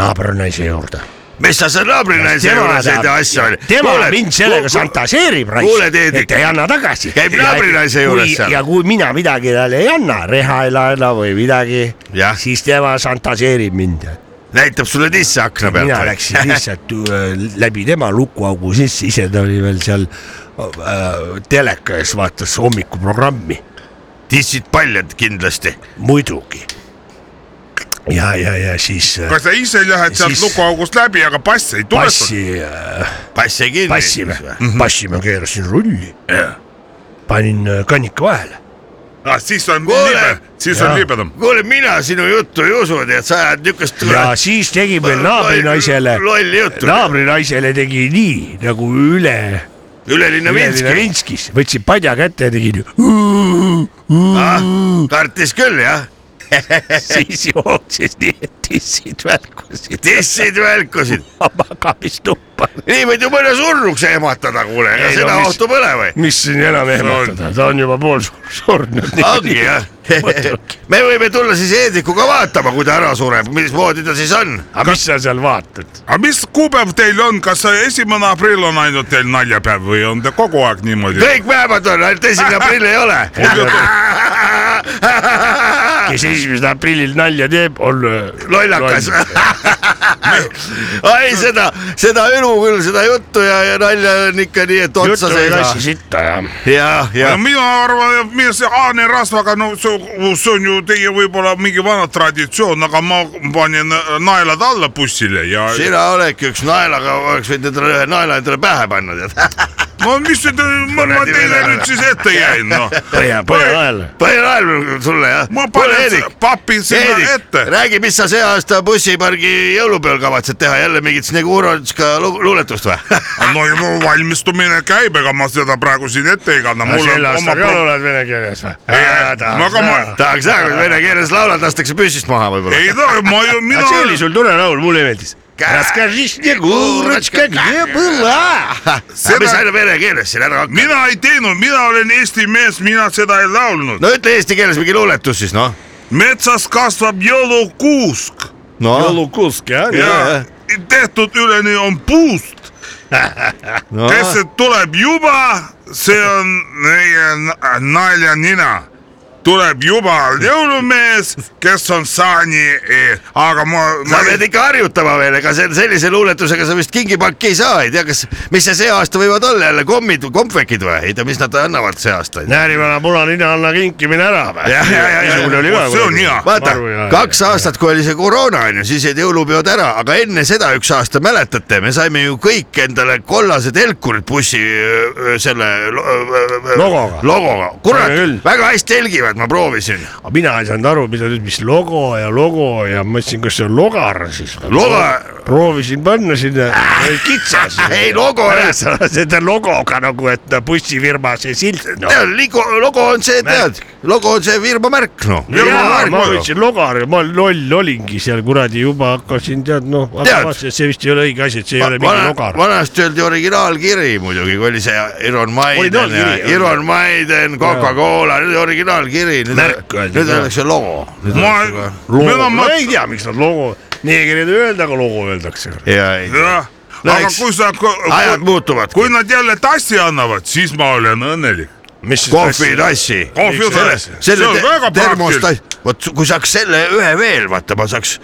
[SPEAKER 5] naabrinaise juurde .
[SPEAKER 4] mis sa seal naabrinaise juures enda asja ajad ?
[SPEAKER 5] tema kuule, mind sellega šantaseerib ,
[SPEAKER 4] kuule, Teedik.
[SPEAKER 5] et ei anna tagasi .
[SPEAKER 4] Käib naabrinaise juures seal.
[SPEAKER 5] ja kui mina midagi talle ei anna , reha ei laena või midagi
[SPEAKER 4] Jah. ,
[SPEAKER 5] siis tema šantaseerib mind .
[SPEAKER 4] näitab sulle sisse akna pealt .
[SPEAKER 5] mina läksin . lihtsalt äh, läbi tema lukuaugu sisse , ise ta oli veel seal äh, teleka ees , vaatas hommikuprogrammi
[SPEAKER 4] tissid paljad kindlasti .
[SPEAKER 5] muidugi . ja , ja , ja siis äh,
[SPEAKER 6] kas sa ise lähed sealt
[SPEAKER 5] Siis-
[SPEAKER 6] lukuaugust läbi , aga pass ei tule sul ?
[SPEAKER 5] passi äh, ,
[SPEAKER 4] pass jäi kinni .
[SPEAKER 5] passi või , passi ma keerasin rulli . panin äh, kannika vahele .
[SPEAKER 6] ah , siis on
[SPEAKER 4] Kuule!
[SPEAKER 6] libe , siis on
[SPEAKER 5] Jaa.
[SPEAKER 6] libedam .
[SPEAKER 4] kuule , mina sinu juttu ei usu , tead , sa ajad niukest .
[SPEAKER 5] ja siis tegi veel naabrinaisele ,
[SPEAKER 4] lolli juttu .
[SPEAKER 5] naabrinaisele tegi nii nagu üle ,
[SPEAKER 4] ülelinna
[SPEAKER 5] üle
[SPEAKER 4] Minski .
[SPEAKER 5] Vinskis , võtsin padja kätte ja tegin
[SPEAKER 4] kartis küll , jah .
[SPEAKER 5] siis jooksis nii , et tissid välkusid
[SPEAKER 4] tissid välkusid .
[SPEAKER 5] magamistuppa .
[SPEAKER 4] nii võid ju mõne surnuks ehmatada , kuule , ega
[SPEAKER 5] Ei, no
[SPEAKER 4] seda
[SPEAKER 5] mis-
[SPEAKER 4] ohtu pole või ?
[SPEAKER 5] mis siin enam ehmatada , ta on juba pool sur- surnud .
[SPEAKER 4] ongi jah
[SPEAKER 5] Mõtlengi.
[SPEAKER 4] me võime tulla siis Heediku ka vaatama , kui ta ära sureb , mismoodi ta siis on .
[SPEAKER 5] aga mis sa seal vaatad ?
[SPEAKER 6] aga mis kuupäev teil on , kas see esimene aprill on ainult teil naljapäev või on ta kogu aeg niimoodi ?
[SPEAKER 4] kõik päevad on , ainult esimene aprill ei ole .
[SPEAKER 5] kes esimesel aprillil nalja teeb , on äh,
[SPEAKER 4] lollakas . ai seda , seda elu küll , seda juttu ja , ja nalja on ikka nii , et otsa
[SPEAKER 5] juttu
[SPEAKER 4] sa
[SPEAKER 5] ei
[SPEAKER 4] ei
[SPEAKER 5] lasi
[SPEAKER 4] saa .
[SPEAKER 5] sitta ja .
[SPEAKER 4] ja , ja
[SPEAKER 6] no mina arvan , et mina see Aane rasvaga , no see see on ju teie võib-olla mingi vana traditsioon , aga ma panin naelad alla bussile ja
[SPEAKER 4] sina oledki üks naelaga , oleks võinud endale ühe naela endale pähe panna , tead .
[SPEAKER 6] no mis te , ma ma teile nüüd siis ette jäin , noh .
[SPEAKER 5] põhja , põhjalael .
[SPEAKER 4] põhjanael sulle jah .
[SPEAKER 6] ma panen papi sinna ette .
[SPEAKER 4] räägi , mis sa see aasta bussipargi jõulupeol kavatsed teha , jälle mingit Snegurovitška lu- luuletust või ?
[SPEAKER 6] no juba valmistumine käib , ega ma seda praegu siin ette ei kanna , mul on
[SPEAKER 5] sel
[SPEAKER 6] oma
[SPEAKER 5] aastal ka
[SPEAKER 6] pro-
[SPEAKER 5] laulad vene keeles või ?
[SPEAKER 6] ma ka ma-
[SPEAKER 4] tahaks näha , kui vene keeles laulad , lastakse püssist maha võib-olla .
[SPEAKER 6] ei taha , ma ju , mina .
[SPEAKER 5] see oli sul tore laul , mulle meeldis . Nagu
[SPEAKER 4] mis sa aina vene keeles siin ära hakkad ?
[SPEAKER 6] mina ei teinud , mina olen eesti mees , mina seda ei laulnud .
[SPEAKER 4] no ütle eesti keeles mingi luuletus siis noh .
[SPEAKER 6] metsas kasvab jõulukuusk
[SPEAKER 4] no ,
[SPEAKER 5] jõulukusk jah
[SPEAKER 6] ja
[SPEAKER 4] Jajah.
[SPEAKER 6] tehtud üleni on puust .
[SPEAKER 4] no
[SPEAKER 6] kes see tuleb juba , see on meie na- nalja nina . tuleb juba jõulumees , kes on saani , aga ma, ma
[SPEAKER 4] sa pead ikka harjutama veel , ega see sellise luuletusega sa vist kingipakki ei saa , ei tea , kas , mis see see aasta võivad olla jälle kommid , kompvekid või , ei tea , mis nad annavad see aasta .
[SPEAKER 5] näärivana punanina anna kinkimine ära või ?
[SPEAKER 4] Jah, jah, jah, jah.
[SPEAKER 5] niisugune oli ka .
[SPEAKER 6] see on hea.
[SPEAKER 4] vaata , kaks aastat , kui oli see koroona onju , siis jäid jõulupeod ära , aga enne seda üks aasta mäletate , me saime ju kõik endale kollased helkurid bussi öö, selle lo- öö, öö,
[SPEAKER 5] Logoga.
[SPEAKER 4] logoga , kurat
[SPEAKER 5] Saime küll. ,
[SPEAKER 4] väga hästi helgivad , ma proovisin .
[SPEAKER 5] aga mina ei saanud aru , mida nüüd , mis logo ja logo ja ma mõtlesin , kas see on logar siis .
[SPEAKER 4] Loga- .
[SPEAKER 5] proovisin panna sinna , oli kitsas
[SPEAKER 4] Ei, logo
[SPEAKER 5] Ah, jah
[SPEAKER 4] jah. .
[SPEAKER 5] seda logoga nagu , et no bussifirma see silt no. .
[SPEAKER 4] tead , logo on see , tead , logo on see firma märk , noh .
[SPEAKER 5] jaa , ma võtsin logari , ma loll olingi seal kuradi juba hakkasin tead noh ,
[SPEAKER 4] Tead.
[SPEAKER 5] see vist ei ole õige asi , et see ei ole mingi logar .
[SPEAKER 4] vanasti öeldi originaalkiri muidugi , kui oli see Iron Maiden ja
[SPEAKER 5] Originaalkiri, jah.
[SPEAKER 4] Iron Maiden , Coca-Cola , nüüd originaalkiri , nüüd
[SPEAKER 5] Märk öeldi,
[SPEAKER 4] nüüd
[SPEAKER 5] jah.
[SPEAKER 4] oleks see logo .
[SPEAKER 6] ma , mina
[SPEAKER 5] logo ,
[SPEAKER 6] ma
[SPEAKER 5] ma , ei tea , miks nad logo , neegrid ei öelda , aga logo öeldakse .
[SPEAKER 4] ja , ei
[SPEAKER 6] jah , aga
[SPEAKER 4] Läks.
[SPEAKER 6] kui sa ,
[SPEAKER 4] ajad muutuvad .
[SPEAKER 6] kui nad jälle tassi annavad , siis ma olen õnnelik .
[SPEAKER 5] mis siis
[SPEAKER 4] kohvitassi .
[SPEAKER 6] Kohvi on tassi.
[SPEAKER 4] selle
[SPEAKER 6] See on väga
[SPEAKER 4] te- termostassi
[SPEAKER 6] praktiline. ,
[SPEAKER 4] vot kui saaks selle ühe veel , vaata , ma saaks ,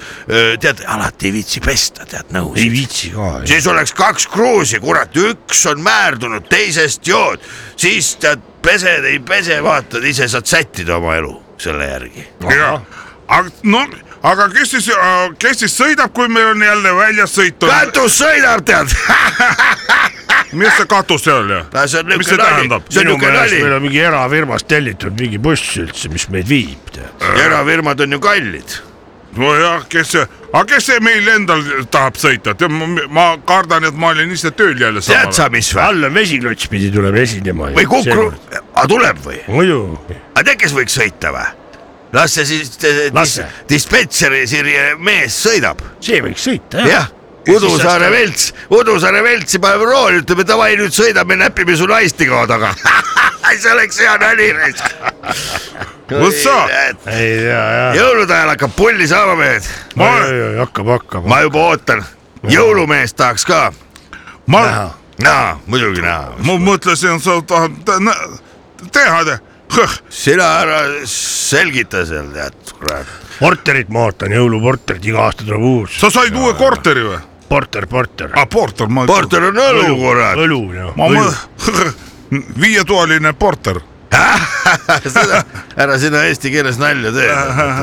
[SPEAKER 4] tead , alati ei viitsi pesta , tead ,
[SPEAKER 5] ei
[SPEAKER 4] nõusid .
[SPEAKER 5] viitsi ka .
[SPEAKER 4] siis oleks kaks kruusi , kurat , üks on määrdunud , teisest jood , siis tead , pesed , ei pese , vaatad ise saad sättida oma elu selle järgi .
[SPEAKER 6] aga no , aga kes siis , kes siis sõidab , kui meil on jälle väljasõit on ,
[SPEAKER 4] katus sõidab , tead .
[SPEAKER 6] mis see katus seal ja ?
[SPEAKER 4] see on
[SPEAKER 6] Mis see
[SPEAKER 4] niuke nali
[SPEAKER 6] tähendab? ,
[SPEAKER 4] see on
[SPEAKER 5] minu
[SPEAKER 4] niuke
[SPEAKER 5] meelest meil
[SPEAKER 4] nali .
[SPEAKER 5] on mingi erafirmast tellitud mingi buss üldse , mis meid viib .
[SPEAKER 4] erafirmad on ju kallid .
[SPEAKER 6] nojah , kes see , aga kes see meil endal tahab sõita , ma kardan , et ma olin ise tööl jälle
[SPEAKER 4] tead
[SPEAKER 6] samal
[SPEAKER 4] sa
[SPEAKER 6] ajal .
[SPEAKER 4] mis või ?
[SPEAKER 5] Allan Vesiklots pidi tulema esinema .
[SPEAKER 4] või Kukru , aga tuleb või ?
[SPEAKER 5] muidu ,
[SPEAKER 4] aga tead , kes võiks sõita või ? las see siis te-
[SPEAKER 5] Las see.
[SPEAKER 4] dis- dispetšeri Sirje mees sõidab ,
[SPEAKER 5] see võiks sõita jah
[SPEAKER 4] jah . Udusaare Velts , Udusaare Veltsi paneb rooli , ütleme davai nüüd sõidame , näpime su naist iga taga . see oleks hea nali . Võssa ,
[SPEAKER 11] ei tea jah .
[SPEAKER 4] jõulude ajal hakkab pulli saama , mehed .
[SPEAKER 11] oi-oi-oi , hakkab , hakkab .
[SPEAKER 4] ma juba ootan , jõulumeest tahaks ka .
[SPEAKER 6] ma ,
[SPEAKER 4] näha , muidugi näha .
[SPEAKER 6] ma mõtlesin , sa tahad tä- nä- teha ,
[SPEAKER 4] sina ära selgita seal , tead , kurat .
[SPEAKER 5] porterit ma ootan , jõuluporterit , iga aasta tuleb uus .
[SPEAKER 6] sa said uue korteri või ?
[SPEAKER 5] porter , porter .
[SPEAKER 6] aa , porter , ma .
[SPEAKER 4] porter on õlu , kurat .
[SPEAKER 5] õlu noh. ja
[SPEAKER 6] Ah, ma mõ- viietoaline porter .
[SPEAKER 4] seda , ära sina eesti keeles nalja tee ,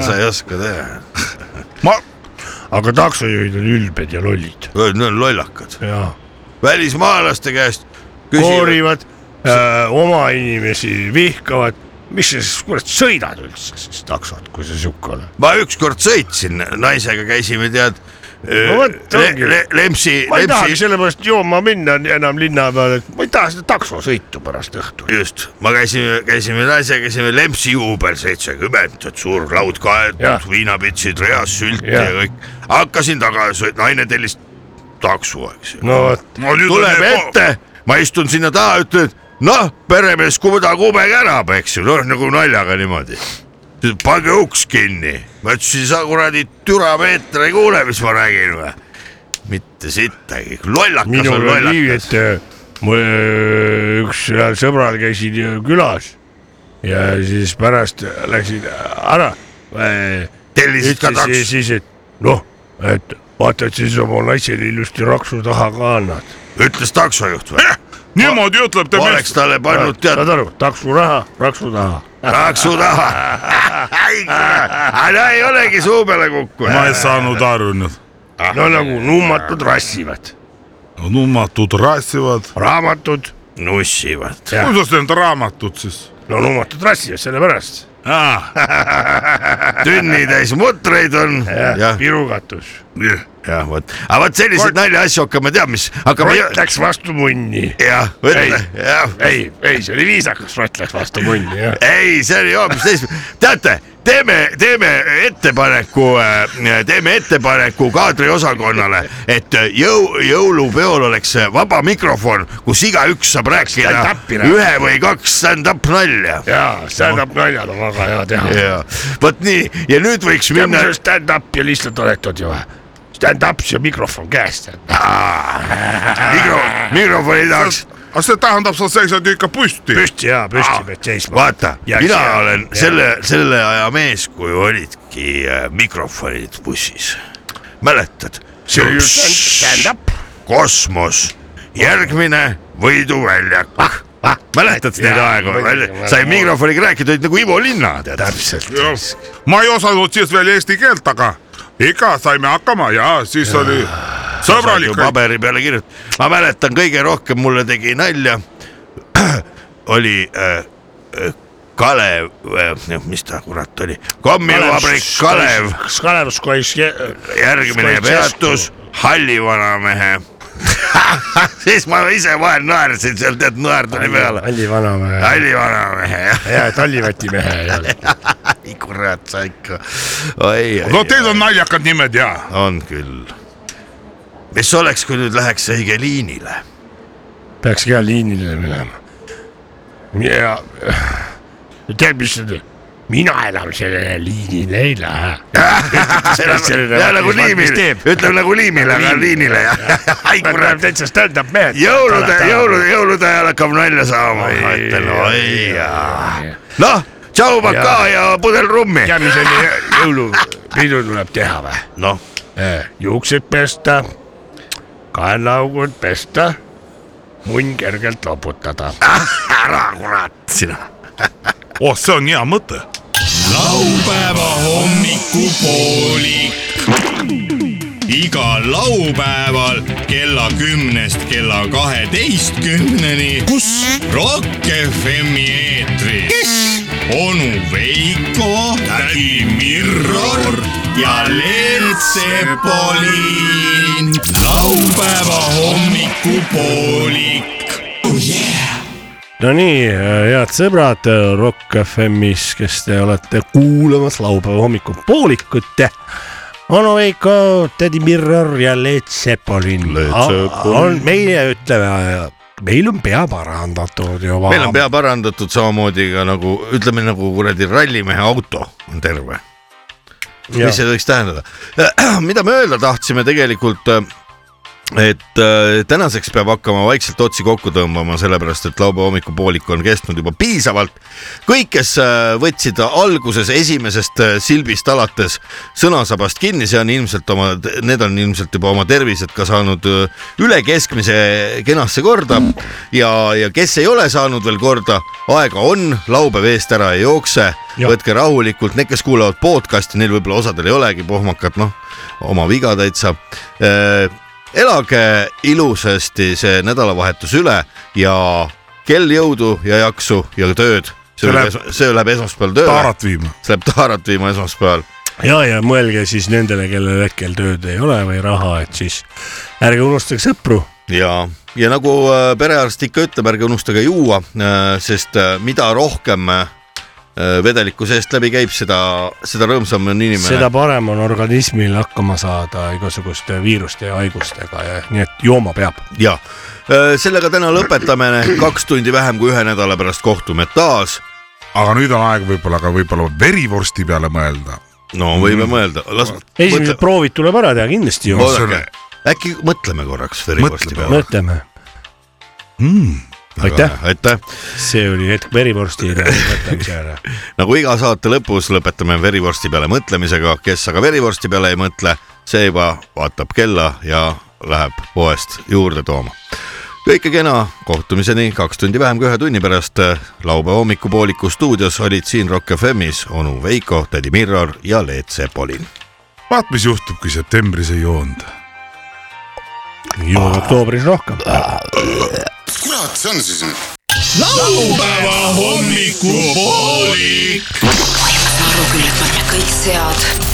[SPEAKER 4] sa ei oska teha .
[SPEAKER 6] ma ,
[SPEAKER 5] aga taksojuhid on ülbed ja lollid
[SPEAKER 4] Need on lollakad ,
[SPEAKER 5] ja
[SPEAKER 4] välismaalaste käest küsivad ,
[SPEAKER 5] koorivad äh, , oma inimesi vihkavad . mis sa siis kurat sõidad üldse siis taksot , kui sa sihuke oled ?
[SPEAKER 4] ma ükskord sõitsin , naisega käisime tead
[SPEAKER 5] No vot,
[SPEAKER 4] le,
[SPEAKER 5] ongi.
[SPEAKER 4] le, Lempsi ,
[SPEAKER 5] ma ei tahagi
[SPEAKER 4] Lempsi ,
[SPEAKER 5] sellepärast jooma minna enam linna peale , et ma ei taha seda taksosõitu pärast õhtul .
[SPEAKER 4] just , ma käisime , käisime naisega , käisime Lempsi juubel seitsekümmend , tead suur laud
[SPEAKER 5] Jah.
[SPEAKER 4] kaetud , viinapitsid reas , sült ja.
[SPEAKER 5] Jah.
[SPEAKER 4] ja kõik . hakkasin tagasi , naine tellis takso , eks ju .
[SPEAKER 5] no vot ,
[SPEAKER 4] tuleb ette , ma istun sinna taha , ütlen , noh , peremees , kuda kube kärab , eks ju , noh nagu naljaga niimoodi . pange uks kinni , ma ütlesin , sa kuradi türa Peeter ei kuule , mis ma räägin või ? mitte sittagi , lollakas on
[SPEAKER 5] minul on nii ,
[SPEAKER 4] lollakas .
[SPEAKER 5] et äh, mul äh, üks heal sõbral käisid ju külas ja siis pärast läksid ära äh,
[SPEAKER 4] tellisid ka
[SPEAKER 5] ütles siis,
[SPEAKER 4] taks ,
[SPEAKER 5] siis , et noh , et vaata , et siis oma naisele ilusti raksu taha ka annad .
[SPEAKER 4] ütles taksojuht või ?
[SPEAKER 6] niimoodi ütleb ta
[SPEAKER 4] oleks
[SPEAKER 6] mees .
[SPEAKER 4] talle pannud tead
[SPEAKER 5] saad aru , taksuraha , raksu taha .
[SPEAKER 4] takso taha . aga ei olegi suu peale
[SPEAKER 6] ma ei
[SPEAKER 4] kukkunud .
[SPEAKER 6] saanud aru nüüd .
[SPEAKER 5] no nagu nummatud rassivad ,
[SPEAKER 6] nummatud rassivad .
[SPEAKER 5] raamatud ,
[SPEAKER 4] nussivad .
[SPEAKER 5] Jah.
[SPEAKER 6] kuidas need raamatud siis ?
[SPEAKER 5] no nummatud rassivad sellepärast ,
[SPEAKER 4] tünnitäis mutreid on ja
[SPEAKER 5] pirukatus .
[SPEAKER 4] jah , vot , aga vot selliseid naljaasju hakkame , tead mis , hakkame
[SPEAKER 5] rott läks vastu munni .
[SPEAKER 4] jah , võta , jah ,
[SPEAKER 5] ei , ei , see oli viisakas , rott läks vastu munni , jah .
[SPEAKER 4] ei , see oli hoopis teist , teate , teeme , teeme ettepaneku , teeme ettepaneku kaadriosakonnale , et äh, jõu , jõulupeol oleks äh, vaba mikrofon , kus igaüks saab rääkida
[SPEAKER 5] Stand-up'i rääkida.
[SPEAKER 4] ühe või kaks stand-up nalja .
[SPEAKER 5] jaa , stand-up naljad on väga hea teha .
[SPEAKER 4] ja vot nii ja nüüd võiks
[SPEAKER 5] tead , mis
[SPEAKER 4] minna
[SPEAKER 5] on stand-up ja lihtsalt oletud ju või ? Stand-up , see mikrofon käest .
[SPEAKER 4] mikro , mikrofoni tahaks ,
[SPEAKER 6] aga see tähendab , sa seisad ju ikka püsti .
[SPEAKER 5] püsti ja püsti pead seisma .
[SPEAKER 4] vaata ,
[SPEAKER 5] Ja,
[SPEAKER 4] mina
[SPEAKER 5] ja,
[SPEAKER 4] olen
[SPEAKER 5] ja.
[SPEAKER 4] selle , selle aja mees , kui olidki äh, mikrofonid bussis , mäletad
[SPEAKER 5] see oli ju stand- stand-up .
[SPEAKER 4] kosmos , järgmine võiduväljak ah, . Ah, mäletad neid
[SPEAKER 5] jaa,
[SPEAKER 4] aegu
[SPEAKER 5] muidugi, ,
[SPEAKER 4] sai
[SPEAKER 5] ma-
[SPEAKER 4] mikrofoniga rääkida , olid nagu Ivo Linna , tead .
[SPEAKER 5] täpselt .
[SPEAKER 6] ma ei osanud siis veel eesti keelt , aga ikka saime hakkama ja siis ja. oli sõbralik .
[SPEAKER 4] paberi peale kirjutatud , ma mäletan kõige rohkem mulle tegi nalja , oli äh, äh, Kalev äh, , mis ta kurat oli , kommivabrik Kalev ,.
[SPEAKER 5] Kalev Skois .
[SPEAKER 4] järgmine peatus , halli vanamehe . siis ma ise vahel naersin seal , tead , naer tuli peale ,
[SPEAKER 5] Alli vanamehe .
[SPEAKER 4] halli vanamehe , jah .
[SPEAKER 5] ja Tallivati mehe ja .
[SPEAKER 4] ei kurat , sa ikka , oi ,
[SPEAKER 6] no teil on naljakad nimed ja .
[SPEAKER 4] on küll . mis oleks , kui nüüd läheks õige liinile ?
[SPEAKER 5] peaks ka liinile minema . ja tead , mis see tuli ? mina enam sellele liinile ei lähe .
[SPEAKER 4] Ah, nagu liimil , ütleme nagu liimile , aga liinile jah . ai kurat ,
[SPEAKER 5] täitsa stand-up mehed .
[SPEAKER 4] jõulude , jõulude , jõulude ajal hakkab nalja saama , ma ütlen , oi jaa . noh , tšau , pakaa ja pudel rummi .
[SPEAKER 5] tead , mis enne jõulupidu tuleb teha või ?
[SPEAKER 4] noh ,
[SPEAKER 5] juuksed pesta , kaelaugud pesta , munn kergelt loputada .
[SPEAKER 4] ära kurat sina .
[SPEAKER 6] oh , see on hea mõte .
[SPEAKER 1] laupäeva hommikupoolik . igal laupäeval kella kümnest kella kaheteistkümneni . kus ? Rock FM-i eetris . kes ? onu Veiko , tädi Mirror ja Leelt Sepolin . laupäeva hommikupoolik .
[SPEAKER 11] no nii , head sõbrad Rock FM-is , kes te olete kuulamas laupäeva hommikupoolikut . Anu Veiko , tädi Mirror ja Leet Sepolin
[SPEAKER 12] Led Zeppelin.
[SPEAKER 11] on meie , ütleme ,
[SPEAKER 5] meil on pea parandatud juba .
[SPEAKER 4] meil on pea parandatud samamoodi ka nagu ütleme nagu kuradi rallimehe auto on terve . mis see võiks tähendada ? mida me öelda tahtsime tegelikult , äh, et äh, tänaseks peab hakkama vaikselt otsi kokku tõmbama , sellepärast et laupäeva hommikupoolik on kestnud juba piisavalt . kõik , kes äh, võtsid alguses esimesest äh, silbist alates sõnasabast kinni , see on ilmselt oma , need on ilmselt juba oma tervised ka saanud äh, üle keskmise kenasse korda ja , ja kes ei ole saanud veel korda , aega on , laupäev eest ära ei jookse
[SPEAKER 5] Jah.
[SPEAKER 4] võtke rahulikult , need , kes kuulavad podcast'i , neil võib-olla osadel ei olegi pohmakat , noh , oma viga täitsa . Äh, elage ilusasti see nädalavahetus üle ja kell jõudu ja jaksu ja tööd . see
[SPEAKER 6] See
[SPEAKER 4] läheb
[SPEAKER 6] läheb- ,
[SPEAKER 4] see läheb esmaspäeval tööle ,
[SPEAKER 6] taarat viima .
[SPEAKER 4] see läheb taarat viima esmaspäeval .
[SPEAKER 5] ja , ja mõelge siis nendele , kellel hetkel tööd ei ole või raha , et siis ärge unustage sõpru .
[SPEAKER 4] ja , ja nagu äh, perearst ikka ütleb , ärge unustage juua , sest äh, mida rohkem äh, vedeliku seest läbi käib , seda , seda rõõmsam on inimene .
[SPEAKER 5] seda parem on organismil hakkama saada igasuguste viiruste ja haigustega ja nii et jooma peab .
[SPEAKER 4] ja äh, sellega täna lõpetame , kaks tundi vähem kui ühe nädala pärast kohtume taas .
[SPEAKER 6] aga nüüd on aeg võib-olla ka võib-olla verivorsti peale mõelda .
[SPEAKER 4] no võime mõelda , las
[SPEAKER 5] esimesed
[SPEAKER 4] mõtle-
[SPEAKER 5] proovid tuleb ära teha kindlasti ju .
[SPEAKER 6] Oot-
[SPEAKER 4] oodake , äkki mõtleme korraks verivorsti
[SPEAKER 6] Mõtleme.
[SPEAKER 4] peale .
[SPEAKER 5] mõtleme , aitäh.
[SPEAKER 4] aitäh ,
[SPEAKER 5] see oli hetk verivorsti mõtlemise ära .
[SPEAKER 4] nagu iga saate lõpus lõpetame verivorsti peale mõtlemisega , kes aga verivorsti peale ei mõtle , see juba vaatab kella ja läheb poest juurde tooma kõike kena , kohtumiseni kaks tundi vähem kui ühe tunni pärast . laupäeva hommikupooliku stuudios olid siin Rock FM-is onu Veiko , tädi Mirror ja Leet Sepolin .
[SPEAKER 6] vaat , mis juhtub , kui septembris ei joonud .
[SPEAKER 5] joon oktoobris rohkem .
[SPEAKER 13] kurat see on siis nüüd ?
[SPEAKER 7] laupäeva hommikupoolik .
[SPEAKER 2] aru küll , et ma olen kõik sead